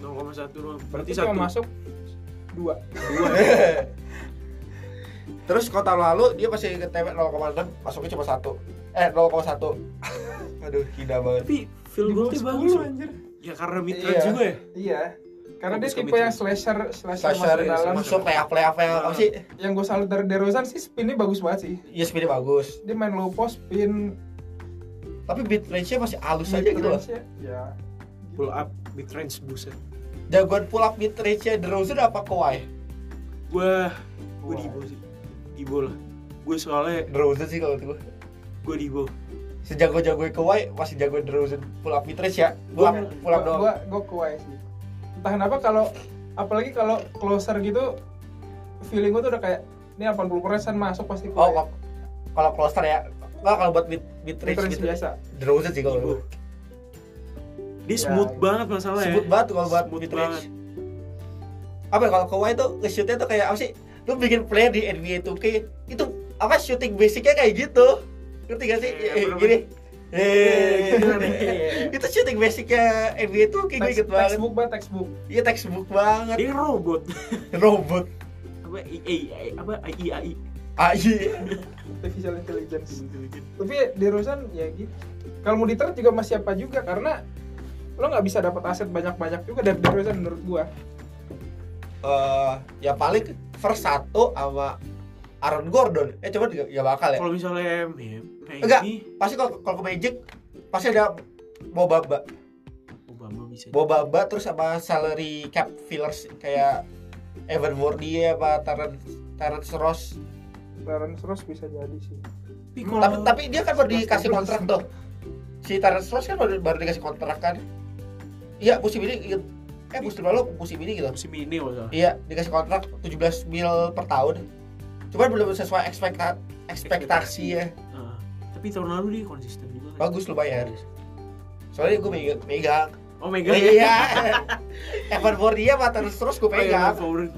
0,1. 0,1 doang berarti berarti cuma satu masuk dua Terus kalau tahun lalu dia masih ngetem 0,6 masuknya cuma 1. Eh 0,1. (laughs) Aduh, gila banget. tapi field Di goalnya bawah bagus 10 loh. anjir ya karena mid Iya. range juga ya iya karena dia Bagus tipe commitment. yang slasher slasher, Slasher iya, masuk dalam masuk playoff playoff yang apa sih? yang gue salut dari DeRozan sih spinnya bagus banget sih Iya speednya bagus. dia main low post spin Tapi mid range-nya masih halus aja gitu loh. mid-range-nya. ya pull up mid range buset Jagoan pull up mid range-nya DeRozan apa Kawhi? gua gua Wah. dibo sih dibo lah gua soalnya DeRozan sih kalau itu. gua dibo Sejago-jagonya Kawhi masih jagoan DeRozan pull up mid range ya. Pull up, Gua- pull up gua- doang. gua gua kuai sih entah kenapa kalau apalagi kalau closer gitu feeling gua tuh udah kayak ini 80 masuk pasti Oh, kuai kalau- kalau cluster ya. Enggak kalau buat mid mid Mid range range gitu. biasa DeRozan sih kalau itu. dibo dia Ya, smooth iya. banget masalah ya Sebut banget kalau buat Smooth mid range. Apa ya, kalau Kawhi itu nge-shootnya tuh kayak apa sih? Lu bikin play di NBA 2K itu apa shooting basicnya kayak gitu. Ngerti gak sih? Iya, Eh, bener-bener. Gini. Eh, gitu kan. Eh, itu shooting basicnya NBA 2K gue Text- inget banget. textbook banget textbook Iya textbook banget. dia robot Robot. apa i i- i apa i i i AI. artificial intelligence tapi di Rosen ya gitu kalau mau diter juga masih apa juga karena lo nggak bisa dapat aset banyak-banyak juga dari DeRozan menurut gua eh ya paling first satu sama Aaron Gordon. Eh cuman nggak nggak bakal ya. kalau misalnya ya, Enggak. Maggie Pasti kalau kalau ke Magic pasti ada Bobaba, Obama bisa Bobaba terus sama salary cap fillers kayak Evan Mobley apa Terence Terence Ross. Terence Ross bisa jadi sih tapi Tapi kalau tapi dia kan baru dikasih kontrak tuh. Si Terence Ross kan baru, baru dikasih kontrak kan. Iya musim ini eh musim lalu musim ini gitu. musim ini kalau salah. Iya, dikasih kontrak 17 mil per tahun. Cuman belum sesuai ekspekta ekspektasi ya. Ah, tapi tahun lalu dia konsisten juga kan? Bagus lumayan. Soalnya gue megang, megang. oh my god Iya. (laughs) Evan Bordia mah terus terus gue Oh, iya, pegang. favorit.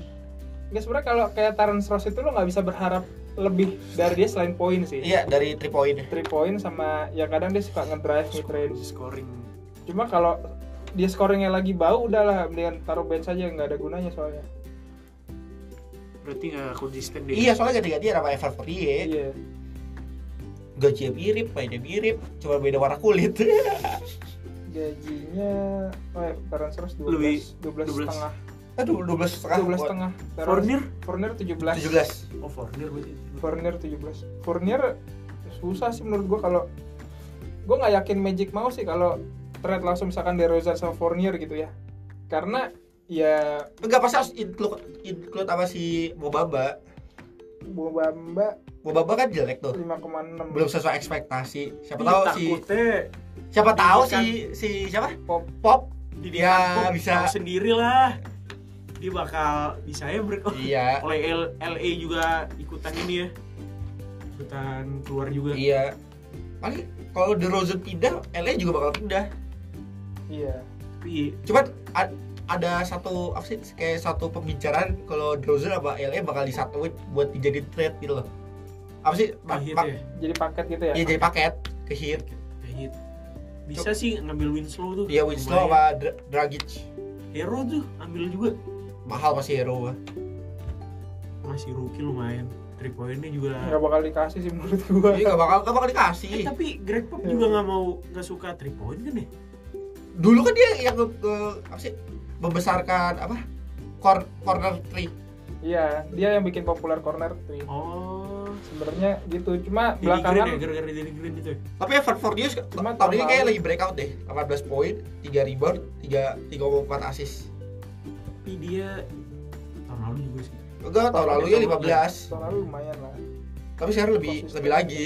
nggak sebenarnya kalau kayak Terence Ross itu lo nggak bisa berharap lebih dari dia selain poin sih Iya, dari 3 point. three point sama ya kadang dia suka ngedrive mid range scoring cuma kalau dia scoringnya lagi bau udahlah mendingan taruh bench aja nggak ada gunanya soalnya berarti nggak konsisten deh Iya, soalnya ganti-ganti sama Evan Bordia. iya gajinya mirip mainnya mirip cuma beda warna kulit (laughs) gajinya oh ya, Terence Ross 12 Lebih- 12 12. setengah aduh dua belas setengah 12 setengah Terence- Fournier? Fournier 17 tujuh belas Oh, Fournier berarti. Fournier 17 Fournier susah sih menurut gua kalau gua nggak yakin Magic mau sih kalau trade langsung misalkan DeRozan sama Fournier gitu ya karena ya enggak pasti harus include include apa si Mobamba Bamba Mobamba kan jelek tuh 5,6 belum sesuai ekspektasi siapa Ih, tahu si takutnya siapa tahu si Didikan. si siapa Pop. Iya kan? pop Didi Ya, Hancock bisa. tahu sendiri lah. Dia bakal bisa ya ber iya oleh L- LA juga ikutan ini ya. Ikutan keluar juga. iya paling kalau DeRozan pindah LA juga bakal pindah iya Iya. cuman a- ada satu apa sih kayak satu pembicaraan kalau DeRozan sama LA bakal disatuin buat dijadiin trade gitu loh apa sih ma- Hit ma- ya. jadi paket gitu ya ya jadi paket ke Heat Ya, hit. Bisa sih ngambil Winslow tuh. dia Winslow Lumayan. sama Dra- Dragic Hero tuh ambil juga. mahal masih hero mah. Masih rookie lumayan. Three pointnya juga. nggak bakal dikasih sih menurut gua jadi gak bakal gak bakal Eh, dikasih tapi Greg Pop Iya. juga nggak mau nggak suka three point kan ya? dulu kan dia yang ke, ke- apa sih membesarkan apa cor- corner three iya dia yang bikin populer corner three Oh. sebenarnya gitu cuma Jadi green ya, belakangan gara-gara jadi green itu ya. tapi Evan Fournier se- Cuma tahun ini tahun kayak lalu- lagi breakout deh 18 poin 3 rebound 3 3,4 assist Tapi dia tahun lalu juga sih. enggak tahun Tahun lalu ini ya sama- 15 tahun lalu lumayan lah tapi sekarang lebih Konsisten. lebih lagi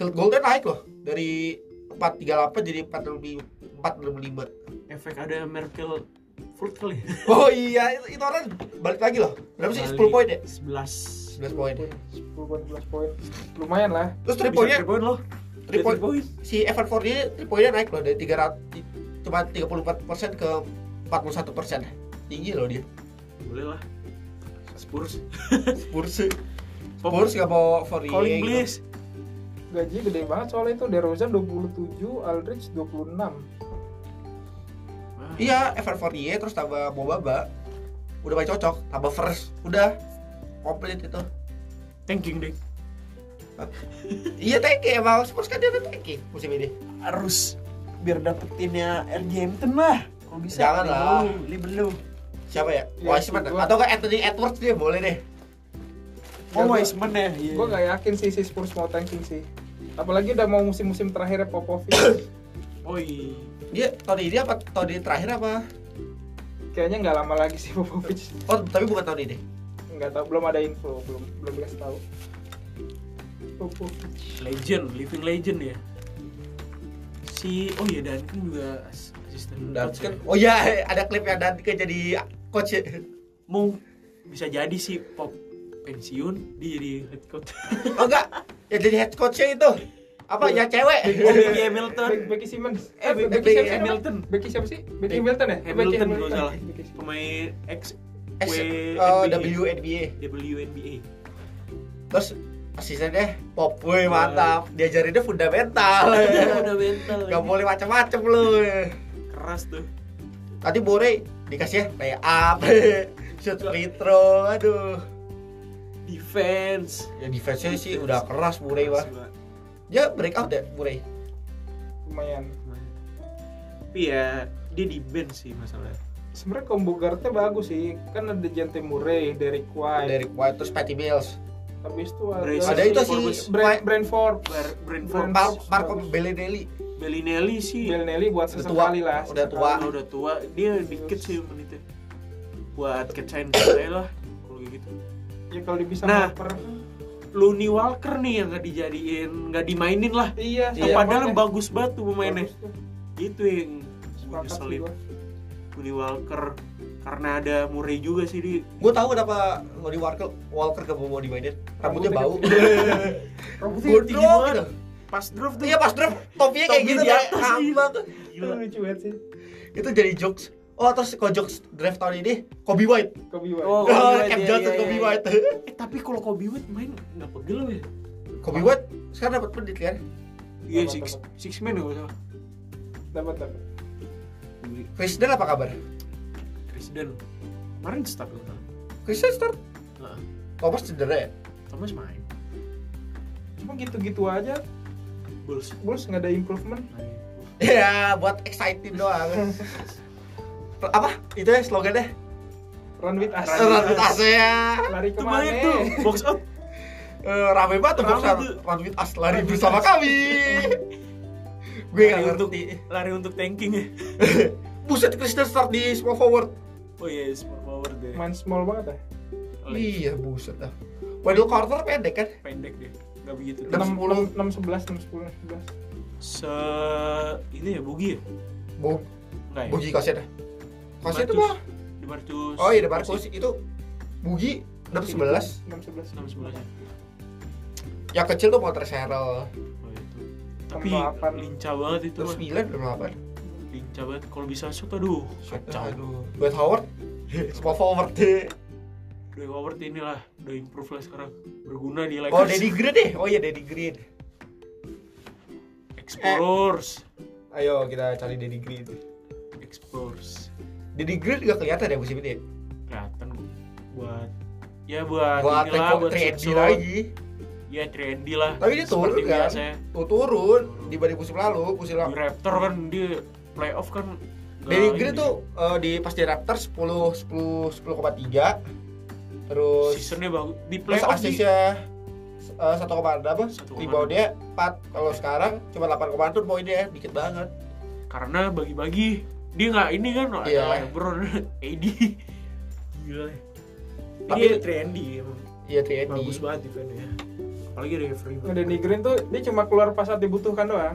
field goalnya naik loh dari 438 jadi 465 465 Efek ada Merkel Furt kali ya? (laughs) oh iya itu, itu orang balik lagi loh berapa sih 10 poin ya 11 11 poin 10 poin 11 poin lumayan lah terus 3 Bisa poinnya three point loh. three Ada point. three point. si Evan Fournier 3 poinnya naik loh dari 300 di- cuma 34% ke 41% tinggi loh dia Boleh lah. Spurs. Spurs Pop. Spurs gak mau Fournier Calling gitu. please. gaji gede banget soalnya itu DeRozan 27 Aldridge 26 Wah, iya Evan Fournier terus tambah Bobaba udah paling cocok tambah first udah komplit itu Tanking deh. Iya tanking emang Spurs kan dia udah tanking musim ini. Harus biar dapetinnya RJ Hampton lah. Kalau bisa. Jangan lah. Beli belum. Siapa ya? Iya, Wiseman sih, gua- atau enggak Anthony Edwards dia boleh deh. Oh, Ya, gua- Wiseman ya. Iya. gue gak yakin sih si Spurs mau tanking sih apalagi udah mau musim-musim terakhir Popovich Oh iya. Dia tahun ini apa tahun ini terakhir apa? kayaknya nggak lama lagi sih Popovich Oh tapi bukan tahun ini. nggak tahu belum ada info belum belum dikasih tahu Popovich Legend, living legend ya. Si oh iya Duncan juga as- asisten Dan coach kan ya. oh ya ada klip yang dan ke jadi coach. ya. Mung bisa jadi si Pop pensiun dia jadi head coach. Oh enggak ya jadi head coachnya itu apa ya cewek? Oh, Becky Hamilton. Be- Becky Simmons Eh, Be- Becky siapa sih? Hamilton. Becky siapa sih Be- Becky Hamilton ya Hamilton, Becky kalau salah. Becky Simmons. Pemain ex Ex- W- eh, NBA. WNBA WNBA. terus asistennya pop, woi mantap diajarinnya (laughs) fundamental. Udah mental. Gak ya. boleh macam-macam lu. Keras tuh. Tadi Bore dikasih ya lay up, shoot free throw, aduh. Defense. ya defense-nya sih udah keras Murray Keras mah juga. dia break out ya Murray lumayan Tapi ya dia di bench sih masalahnya. sebenarnya combo guardnya bagus sih kan ada Jante Murray Derek White dari White terus Patty Mills habis itu ada Brace. ada itu sih Forbes. Brand, Brand Forbes Bar- Brand Brand- Forbes. Mar Marco Bagus. Bellinelli Bellinelli sih Bill Nelly buat Udah tua, sesekali lah udah tua. Kalau udah tua dia dikit sih menitnya buat kecain saya lah kalau kayak gitu ya kalau bisa Nah. ngoper Looney Walker nih yang nggak dijadiin nggak dimainin lah iya Iya. sama padahal Mane. bagus banget tuh pemainnya Bagus tuh. itu yang gue Sepakat sih nyeselin gua. Looney Walker karena ada Murray juga sih di gue tahu kenapa Lonnie Walker Walker gak mau dimainin rambutnya Rambutnya bau (laughs) rambutnya Gua- tinggi gondrong banget. gitu pas draft tuh iya pas draft topinya kayak Topi gitu di kayak atas, ngambang itu gila lucu banget sih itu jadi jokes oh terus kalau jokes draft tahun ini Kobe White Kobe White (laughs) Oh, Kobe oh, White, Cam iya, Johnson iya, Kobe iya. White (laughs) eh, tapi kalau Kobe White main nggak pegel ya Kobe White sekarang dapat menit kan iya Apa, six apa? six man ya kalau salah. dapat dapat Chris Dunn apa kabar Chris Dunn kemarin start loh Chris Dunn start Heeh. Thomas cedera ya Thomas main cuma gitu-gitu aja Bulls. Bulls nggak ada (laughs) improvement ya buat excited doang apa itu ya slogannya run with us Run Run with us ya lari Itu banyak kemana tuh, box (laughs) out. Eh, rame banget tuh Rame boxer tuh. Run with us lari Run with bersama us. kami gue gak Lari untuk- ngerti Lari untuk tanking ya. buset Kristen start di small forward Oh iya, small forward deh. Oh, main small banget ya Leg iya buset dah Waddle quarter pendek kan Pendek deh. Gak begitu. Enam tinggi. 10. 6 11 6 10 11 Se ini ya Bogi ya? Bo Enggak ya? Bugi kosnya dah kosnya itu Marcus. mah Demarcus. oh iya Marcus itu Bugi 611 6 11 Enam sebelas ya? yang kecil tuh Potter Serrell Oh, itu. Tapi delapan. lincah banget itu. terus mah. 9 8 Lincah banget. Kalau bisa shoot aduh, kacau. aduh buat Howard (laughs) small forward deh Dwight Howard inilah udah improve lah sekarang berguna di oh Lakers Daddy Green deh oh iya Daddy Green Explorers ayo kita cari Daddy Green Explorers Daddy Green gak kelihatan ya musim ini ya? kelihatan buat ya buat, buat inilah rekor buat 3 shoot-shoot. lagi ya 3 lah Tapi dia turun Seperti ya. kan? biasanya. tuh turun dibanding musim lalu musim di lalu Raptor kan dia playoff kan nggak Daddy Green ini. tuh eh, di pas di Raptors 10 10 10,3 terus seasonnya bagus di Plus playoff di asisnya eh, 1,6 apa? Satu Di koma bawah enam. dia 4 Kalau sekarang cuma 8,6 poinnya Dikit banget karena bagi-bagi dia nggak ini kan ada Iya. LeBron (laughs) AD gila Tapi- tapi 3 emang Iya 3 bagus banget defense-nya apalagi ada Avery Danny Green tuh dia cuma keluar pas saat dibutuhkan doang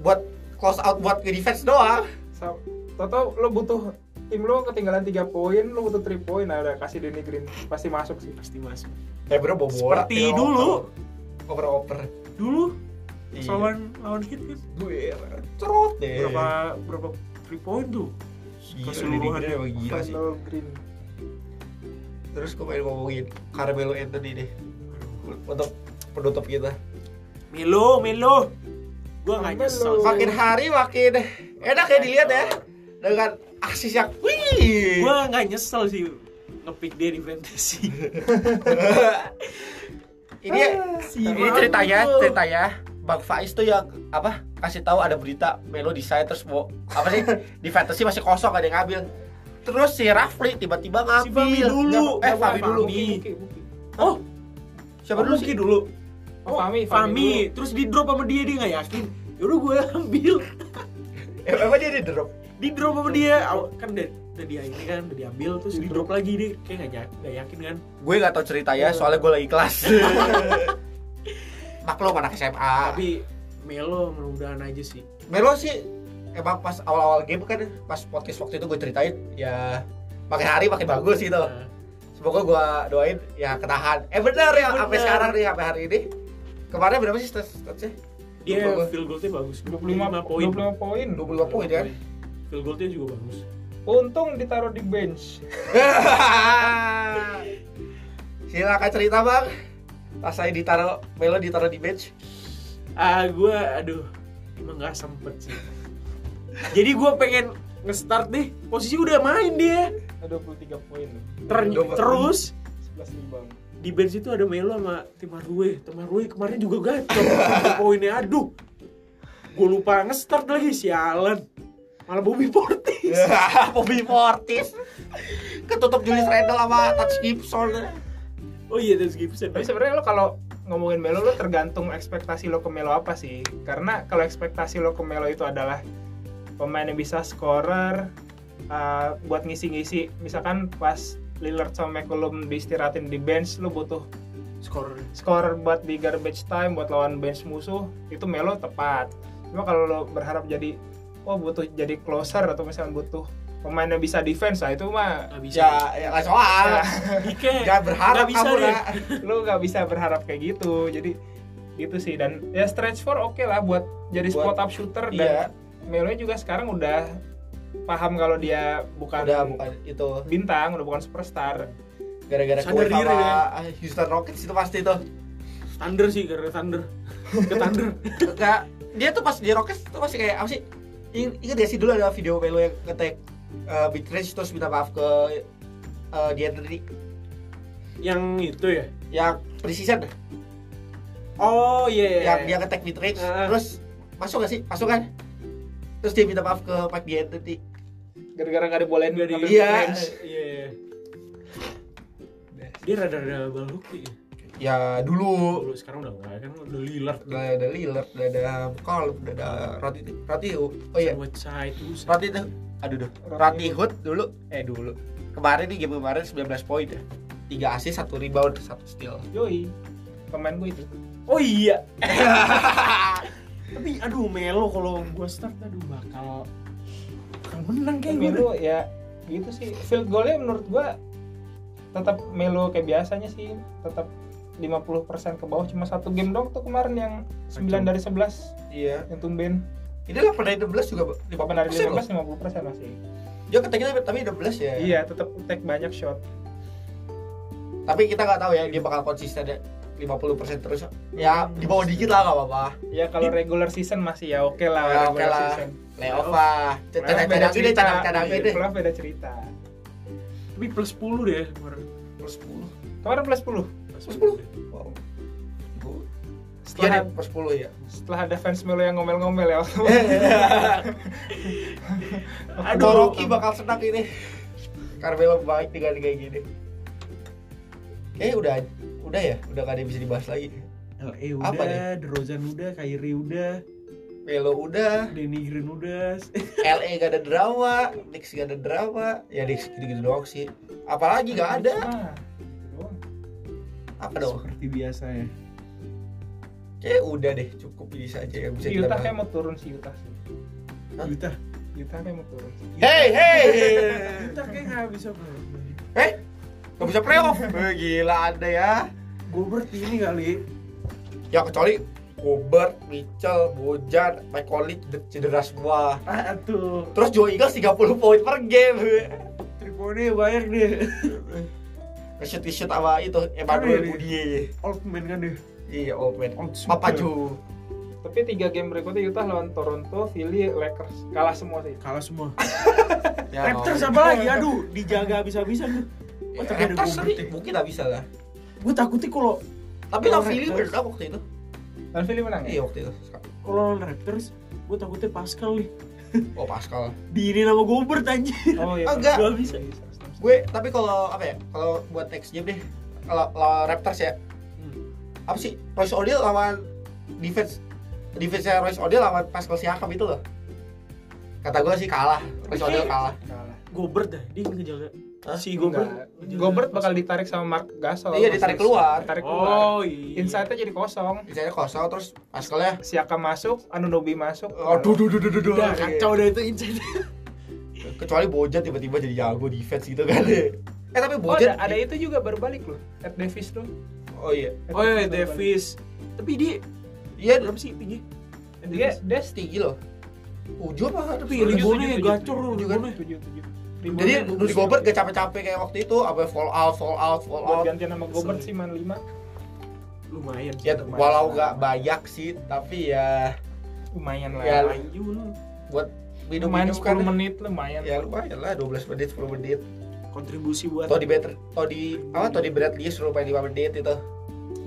Buat close out buat ke defense doang Sa- Tau-tau lo butuh tim lo ketinggalan 3 poin, lo butuh 3 poin, nah udah kasih Danny Green pasti masuk sih. pasti masuk Eh bro bawa bola Seperti tinggal dulu. oper. Oper-oper dulu Iya. lawan lawan hit kan Gue iya. cerot deh berapa berapa three point tuh Gila, Danny keseluruhan Green emang gila Iya sih Randall Green. Terus gue pengen ngomongin Carmelo Anthony deh Untuk penutup kita Melo Melo gua nggak Melo. nyesel Makin hari makin enak ya dilihat ya Dengan aksis yang wih gua nggak nyesel sih ngepick dia di fantasy (laughs) Ini ya, si Ini ceritanya, ceritanya Bang Faiz tuh yang apa kasih tahu ada berita Melo di saya terus mau apa (laughs) sih di fantasy masih kosong ada yang ngambil. Terus si Rafli tiba-tiba ngambil. Si Fahmi dulu. eh Nggak, Fahmi bukan dulu. Fahmi. Buki, Buki. oh Siapa dulu sih? dulu Oh, Fahmi, Fahmi Fahmi terus di drop sama dia dia nggak yakin yaudah gua ambil Eh, emang dia di drop. di drop sama dia Aw- kan udah udah dia ini kan udah diambil terus di drop lagi dia kayak nggak ya- nggak yakin kan Gue nggak tahu ceritanya soalnya gue lagi kelas. (laughs) Maklum anak SMA. Tapi tapi Melo mudah-mudahan aja sih Melo sih emang pas awal-awal game kan pas podcast waktu itu gue ceritain ya makin hari makin bagus Iya. gitu. Nah, Semoga gua doain ya ketahan. Eh benar ya sampai Bener. sekarang nih sampai hari ini. Kemarin berapa sih ya? stats- statsnya? Iya. dia Lupa gua. field goalnya bagus 25 poin. 25 poin. 25 poin (laughs) kan? Field goalnya juga bagus. Untung ditaruh di bench. Silakan cerita bang. Pas saya ditaruh Melo ditaruh di bench. Ah, gue aduh emang nggak sempet sih. Jadi gue pengen nge-start deh posisi udah main dia Ada 23 poin. Ter- Coba. terus 11 rebound. di bench itu ada Melo sama tim Hardaway tim Hardaway kemarin juga gacor Tiga poinnya aduh gue lupa nge-start lagi sialan malah Bobby Portis (laughs) Bobby Mortis. Ketutup Julius Randle sama Touch Gibson. oh iya terus Gibson Tapi sebenarnya lo kalau ngomongin Melo lo tergantung ekspektasi lo ke Melo apa sih? Karena kalau ekspektasi lo ke Melo itu adalah pemain yang bisa scorer uh, buat ngisi-ngisi. Misalkan pas Lillard sama McCollum diistirahatin di bench, lo butuh skor scorer buat di garbage time buat lawan bench musuh itu Melo tepat. Cuma kalau lo berharap jadi oh butuh jadi closer atau misalkan butuh pemain yang bisa defense ah itu mah nggak bisa Ya, ya nggak soal. ya, Dike Jangan berharap Nggak bisa kamu deh. nak. lu nggak bisa berharap kayak gitu jadi gitu sih dan ya stretch four oke lah buat jadi Buat- spot up shooter Iya, dan Melo juga sekarang udah paham kalau dia bukan, udah bukan itu bintang udah bukan superstar gara-gara Sadar kue diri sama ya. Houston Rockets itu pasti tuh. Thunder sih karena Thunder ke Thunder Enggak, dia tuh pas di Rockets tuh masih kayak apa sih? Ing- Ingat gak sih dulu ada video Melo yang ngetek uh, mid range terus minta maaf ke uh, Diandre yang itu ya yang precision. Oh iya. yang dia ngetek Mitrix Ah. terus masuk gak sih masuk kan terus dia minta maaf ke Mike D'Antoni gara-gara nggak ada bolehin Nggak di- ngambil Iya. range. Iya, iya. Dia rada-rada baluk ya. ya dulu Dulu sekarang udah enggak kan udah Lillard udah ada Lillard udah ada McCollum udah ada Rati Rati oh iya sama Cahit Musa. Rati tuh aduh duh Rati Hood dulu eh dulu kemarin nih game kemarin 19 poin ya 3 assist 1 rebound 1 steal Yoi. Pemain gue itu. Oh (laughs) iya. Tapi aduh Melo kalau gua start aduh bakal bakal menang kayaknya. Melo ya gitu sih. Field goalnya menurut gua tetap Melo kayak biasanya sih, tetap 50% ke bawah cuma satu game dong tuh kemarin yang 9 Kacau. dari 11 iya yang tumben. ini lah pernah 16 juga 50 Papan dari persen loh 15 50% masih. dia keteknya tapi- tapi 16 ya Iya, tetap take banyak shot. tapi kita nggak tahu ya dia bakal konsisten ya 50% terus ya di bawah dikit lah nggak apa-apa Ya kalau regular season masih ya oke lah Ya, oke regular lah. season. Playoff lah Playoff beda cadang-cadang ini cerita. cadang-cadang Iya, ini playoff beda cerita. Tapi plus 10 deh kemarin. plus 10 Kemarin plus 10. Iya Plus Plus 10. wow Setelah Iya deh, plus 10 ya setelah ada fans Melo yang ngomel-ngomel (laughs) ya. Eh, Aduh. Toroki bakal senang ini Carmelo baik dengan kayak gini Kayaknya udah udah ya udah gak ada yang bisa dibahas lagi LA Apa nih? udah, Drozan udah, Kyrie udah, Melo udah Danny Green Eh, udah. LA gak ada drama Knicks gak ada drama ya Knicks gitu-gitu doang sih apalagi gak ada Nah, apa dong Seperti biasa ya. kayaknya udah deh cukup ini saja yang bisa Si kita Utah kayak bahas mau turun si Utah sih. Hah? Utah. Utah kayak mau turun. hey hey Utah kayak (laughs) nggak bisa banget. hey gak bisa playoff Eh, gila ada ya Gobert ini kali. ya kecuali Gobert, Mitchell, Bojan, Mike Conley ceder- cedera semua Ah tuh. Terus Joe Ingles 30 poin per game. Tripone banyak deh. (laughs) Nge-shoot nge-shoot sama itu Emmanuel Aduh, iya. Budie. Old man kan deh. Iya, old man. Old super. Papa Joe. Tapi tiga game berikutnya Utah lawan Toronto, Philly, Lakers kalah semua sih. Kalah semua. Ya, Raptors no. apa lagi? Aduh, dijaga habis-habisan tuh. Ya, Oh, tapi ada Raptors Gobert tapi ya. mungkin gak bisa lah. Gue takutnya kalau Tapi Oh, lah Philly Raptors. bener waktu itu. Dan Philly menang Iya ya. waktu itu. Sekali. kalau lawan Raptors, gue takutnya Pascal nih. Oh Pascal. Diinin sama Gobert anjir. Oh iya. Oh, enggak. Dua bisa. Gue tapi kalau apa ya? Kalau buat next game deh, kalau lawan Raptors ya. Hmm. Apa sih? Royce O'Neal lawan defense defense-nya Royce O'Neal lawan Pascal Siakam itu loh. Kata gue sih kalah. Royce O'Neal kalah. Kalah. Gobert dah, dia ngejaga. Hah? Si Enggak. Gobert. ngejaga Gobert bakal Pascal. ditarik sama Mark Gasol. Iya, ditarik keluar. Ditarik keluar. Oh iya. Inside-nya jadi kosong. Misalnya kosong terus Pascalnya Siaka masuk, Anunobi masuk. Oh, Aduh, duh, duh, duh, duh, duh. iya. Udah kacau dah itu inside. kecuali Bojan tiba-tiba jadi jago defense gitu kan eh tapi Oh, Bojan ada, ada itu juga baru balik loh. Ed Davis tuh. oh iya Oh iya, Davis. Tapi dia iya berapa sih tinggi? Dia dia tinggi loh Ujo apa Ujo. Tapi ribonnya tujuh, tujuh. gacor loh, Tujuh kan? ribonnya. 7 7. jadi Rudy Gobert gak capek-capek kayak waktu itu apa ya, fall out fall out fall out buat gantian sama Gobert Sorry. sih man 5 Lumayan. sih, ya lumayan. walau gak banyak sih tapi ya lumayan lah Ya, Ayun. buat minum minum lumayan 10 kan menit lumayan ya lumayan lah 12 menit 10 menit Kontribusi buat Todi Better Todi apa Todi Bradley suruh main 5 menit itu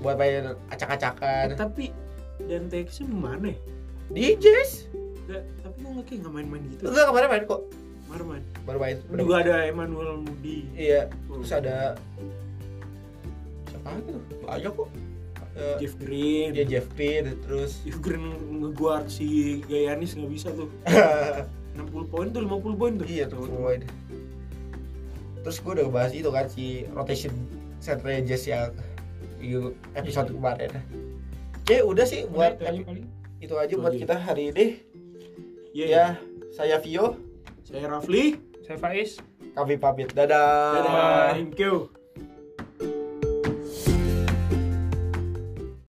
buat main acak-acakan tapi dan TX mana ya? di Jazz Nggak, tapi kok nggak kayak nggak main-main gitu ya? enggak kemarin main kok Baru main baru main Terus juga ada Emmanuel Mudi iya terus ada siapa lagi tuh banyak kok Eh, Jeff Green dia Jeff Green terus Jeff Green ngeguard si Gayanis nggak bisa tuh 60 poin tuh 50 poin tuh iya tuh Floyd terus gue udah bahas itu kan si rotation center Jazz yang di episode Iya. kemarin Oke udah sih buat itu aja epi- kali. itu aja Itu buat aja. kita hari ini Iya, iya. ya saya Vio saya Rafli saya Faiz kami pamit dadah thank you